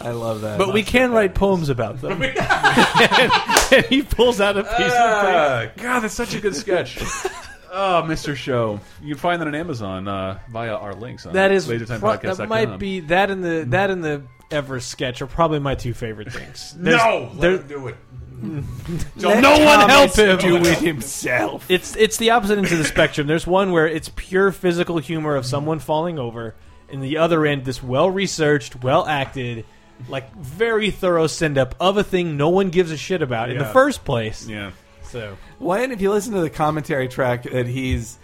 [SPEAKER 3] I love that.
[SPEAKER 4] But we can write poems about them. and, and he pulls out a piece
[SPEAKER 2] Ah,
[SPEAKER 4] of paper.
[SPEAKER 2] God, that's such a good sketch. oh, Mr. Show. You can find that on Amazon uh, via our links on
[SPEAKER 4] That is pro-
[SPEAKER 2] lasertimepodcast.com.
[SPEAKER 4] that might be that and the that and the ever sketch are probably my two favorite things. There's-
[SPEAKER 2] No, let
[SPEAKER 4] there-
[SPEAKER 2] him do it.
[SPEAKER 4] Don't no one help him.
[SPEAKER 3] Do it himself.
[SPEAKER 4] It's it's the opposite end of the spectrum. There's one where it's pure physical humor of someone falling over, and the other end, this well researched, well acted, like very thorough send up of a thing no one gives a shit about in the
[SPEAKER 3] Yeah.
[SPEAKER 4] first place.
[SPEAKER 2] Yeah.
[SPEAKER 4] So
[SPEAKER 3] Why? And if you listen to the commentary track that he's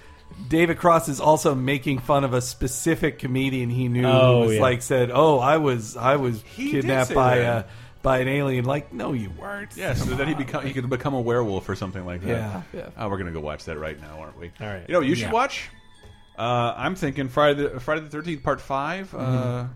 [SPEAKER 3] David Cross is also making fun of a specific comedian he knew
[SPEAKER 4] Oh,
[SPEAKER 3] who was
[SPEAKER 4] yeah.
[SPEAKER 3] like said, "Oh, I was I was
[SPEAKER 2] He did
[SPEAKER 3] kidnapped
[SPEAKER 2] say
[SPEAKER 3] by
[SPEAKER 2] that.
[SPEAKER 3] a by an alien." Like, no, you weren't.
[SPEAKER 2] Yes, so then he become he could become a werewolf or something like that.
[SPEAKER 3] Yeah. Yeah.
[SPEAKER 2] Oh, we're gonna go watch that right now, aren't we?
[SPEAKER 3] All right.
[SPEAKER 2] You know, what you should
[SPEAKER 3] Yeah.
[SPEAKER 2] watch. Uh, I'm thinking Friday the, Friday the Thirteenth Part 5 uh,
[SPEAKER 5] Mhm.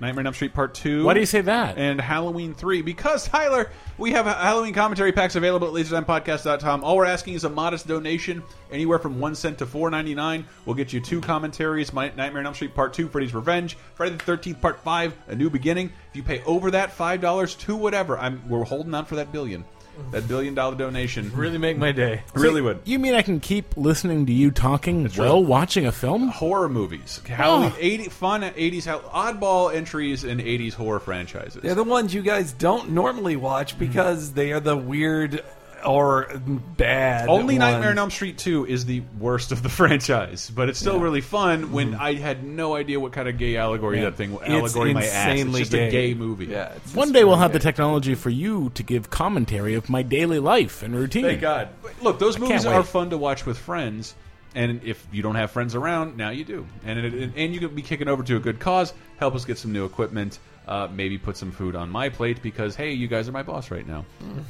[SPEAKER 2] Nightmare on Elm Street Part Two.
[SPEAKER 5] Why do you say that?
[SPEAKER 2] And Halloween Three because Tyler, we have Halloween commentary packs available at LaserTimePodcast.com. All we're asking is a modest donation, anywhere from one cent to four ninety nine. We'll get you two commentaries: My Nightmare on Elm Street Part Two, Freddy's Revenge, Friday the Thirteenth Part Five, A New Beginning. If you pay over that five dollars to whatever, I'm we're holding on for that billion. That billion dollar donation
[SPEAKER 4] really make my day.
[SPEAKER 2] Really would.
[SPEAKER 5] You mean I can keep listening to you talking while watching a film?
[SPEAKER 2] Horror movies. Halloween,
[SPEAKER 4] Oh.
[SPEAKER 2] 80, fun 80s, how, oddball entries in 80s horror franchises.
[SPEAKER 3] They're the ones you guys don't normally watch
[SPEAKER 2] Mm-hmm.
[SPEAKER 3] because they are the weird or bad.
[SPEAKER 2] Only
[SPEAKER 3] ones.
[SPEAKER 2] Nightmare on Elm Street 2 is the worst of the franchise, but it's still really fun when I had no idea what kind of gay allegory
[SPEAKER 5] Mm-hmm. Yeah.
[SPEAKER 2] that thing
[SPEAKER 5] It's
[SPEAKER 2] allegory my ass. It's
[SPEAKER 5] insanely
[SPEAKER 2] just a
[SPEAKER 5] gay.
[SPEAKER 2] gay movie.
[SPEAKER 3] Yeah.
[SPEAKER 5] One day we'll have the technology for you to give commentary of my daily life and routine.
[SPEAKER 2] Thank God. But Look, those
[SPEAKER 5] I
[SPEAKER 2] movies
[SPEAKER 5] can't
[SPEAKER 2] are
[SPEAKER 5] wait.
[SPEAKER 2] fun to watch with friends, and if you don't have friends around, now you do. And it, and you could be kicking over to a good cause. Help us get some new equipment. Uh, maybe put some food on my plate because hey, you guys are my boss right now.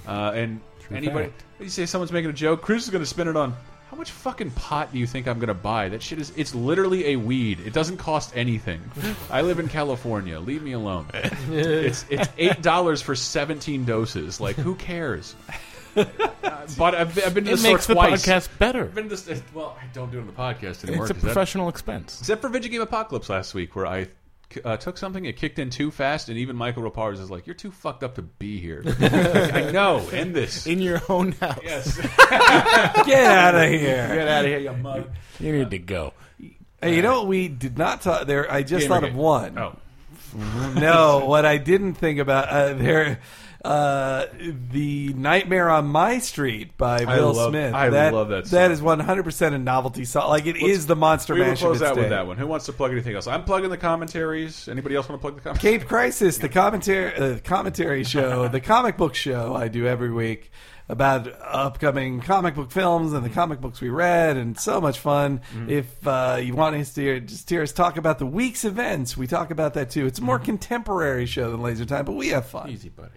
[SPEAKER 2] Uh, and
[SPEAKER 5] Mm. True
[SPEAKER 2] anybody,
[SPEAKER 5] fact.
[SPEAKER 2] you say someone's making a joke, Chris is going to spin it on. How much fucking pot do you think I'm going to buy? That shit is. It's literally a weed. It doesn't cost anything. I live in California. Leave me alone. it's it's eight dollars for seventeen doses. Like who cares? But I've, I've been to
[SPEAKER 5] It
[SPEAKER 2] the store
[SPEAKER 5] makes the
[SPEAKER 2] twice.
[SPEAKER 5] podcast better.
[SPEAKER 2] I've been to the, well, I don't do it on the podcast anymore.
[SPEAKER 5] It's a
[SPEAKER 2] 'cause that-
[SPEAKER 5] professional expense.
[SPEAKER 2] except for Video Game Apocalypse last week, where I uh, took something, it kicked in too fast, and even Michael Rapars is like, "You're too fucked up to be here." Like, I know. End this.
[SPEAKER 5] in your own house.
[SPEAKER 2] Yes.
[SPEAKER 3] Get out of here.
[SPEAKER 2] Get out of here, you mug.
[SPEAKER 5] You need to go.
[SPEAKER 3] Hey, you know what we did not talk there? I just thought
[SPEAKER 2] Gamergate.
[SPEAKER 3] of one.
[SPEAKER 2] Oh.
[SPEAKER 3] no, what I didn't think about uh, there, uh, the Nightmare on My Street by
[SPEAKER 2] I
[SPEAKER 3] Will
[SPEAKER 2] love-
[SPEAKER 3] Smith.
[SPEAKER 2] I love that
[SPEAKER 3] That
[SPEAKER 2] song.
[SPEAKER 3] is one hundred percent a novelty song. Like it is the monster
[SPEAKER 2] We will
[SPEAKER 3] mash. of
[SPEAKER 2] close
[SPEAKER 3] its
[SPEAKER 2] out with
[SPEAKER 3] day.
[SPEAKER 2] that one. Who wants to plug anything else? I'm plugging the commentaries. Anybody else want to plug the commentaries?
[SPEAKER 3] Cape Crisis, the commentary, uh, commentary show, the comic book show I do every week about upcoming comic book films and the comic books we read, and so much fun.
[SPEAKER 2] Mm-hmm.
[SPEAKER 3] If uh, you want us to hear, just hear us talk about the week's events, we talk about that too. It's a more contemporary show than Laser Time, but we have fun.
[SPEAKER 2] Mm-hmm. Easy, buddy.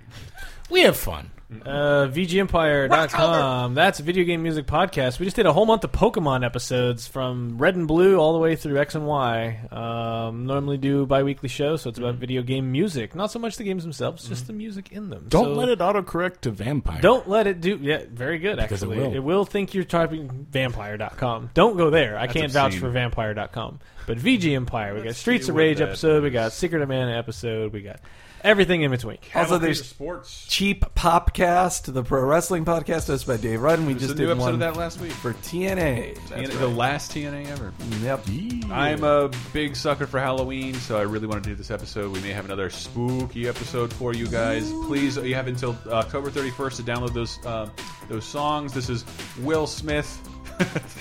[SPEAKER 5] We have fun.
[SPEAKER 4] Uh, VGEmpire.com. That's a video game music podcast. We just did a whole month of Pokemon episodes from Red and Blue all the way through X and Y. Um, normally do bi weekly shows, so it's
[SPEAKER 5] Mm-hmm.
[SPEAKER 4] about video game music. Not so much the games themselves, just the music in them.
[SPEAKER 5] Don't
[SPEAKER 4] So-
[SPEAKER 5] let it autocorrect to vampire.
[SPEAKER 4] Don't let it do. Yeah, very good,
[SPEAKER 5] Because it
[SPEAKER 4] actually.
[SPEAKER 5] will.
[SPEAKER 4] think you're typing vampire.com. Don't go there. I
[SPEAKER 5] That's
[SPEAKER 4] can't vouch
[SPEAKER 5] obscene.
[SPEAKER 4] for vampire.com. But VG Empire, we got
[SPEAKER 2] Let's
[SPEAKER 4] Streets
[SPEAKER 2] see
[SPEAKER 4] of
[SPEAKER 2] what
[SPEAKER 4] Rage
[SPEAKER 2] that
[SPEAKER 4] episode, we got Secret of Mana episode, we got everything in between.
[SPEAKER 3] Also, there's
[SPEAKER 2] sports.
[SPEAKER 3] Cheap Popcast, the pro wrestling podcast hosted by Dave Rudden. We
[SPEAKER 2] There's
[SPEAKER 3] just
[SPEAKER 2] a new
[SPEAKER 3] did
[SPEAKER 2] episode
[SPEAKER 3] one
[SPEAKER 2] of that last week.
[SPEAKER 3] for TNA. That's
[SPEAKER 2] TNA,
[SPEAKER 3] right.
[SPEAKER 2] The last TNA ever.
[SPEAKER 3] Yep.
[SPEAKER 2] I'm a big sucker for Halloween, so I really want to do this episode. We may have another spooky episode for you guys. Please, you have until uh, October 31st to download those uh, those songs. This is Will Smith,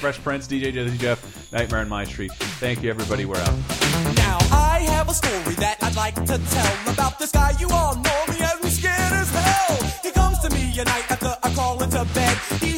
[SPEAKER 2] Fresh Prince, DJ Jazzy Jeff, Nightmare on My Street. Thank you, everybody. We're out.
[SPEAKER 20] Now I have a story that I'd like to tell about this guy you all know me as he's scared as hell. He comes to me at night after I call into bed. He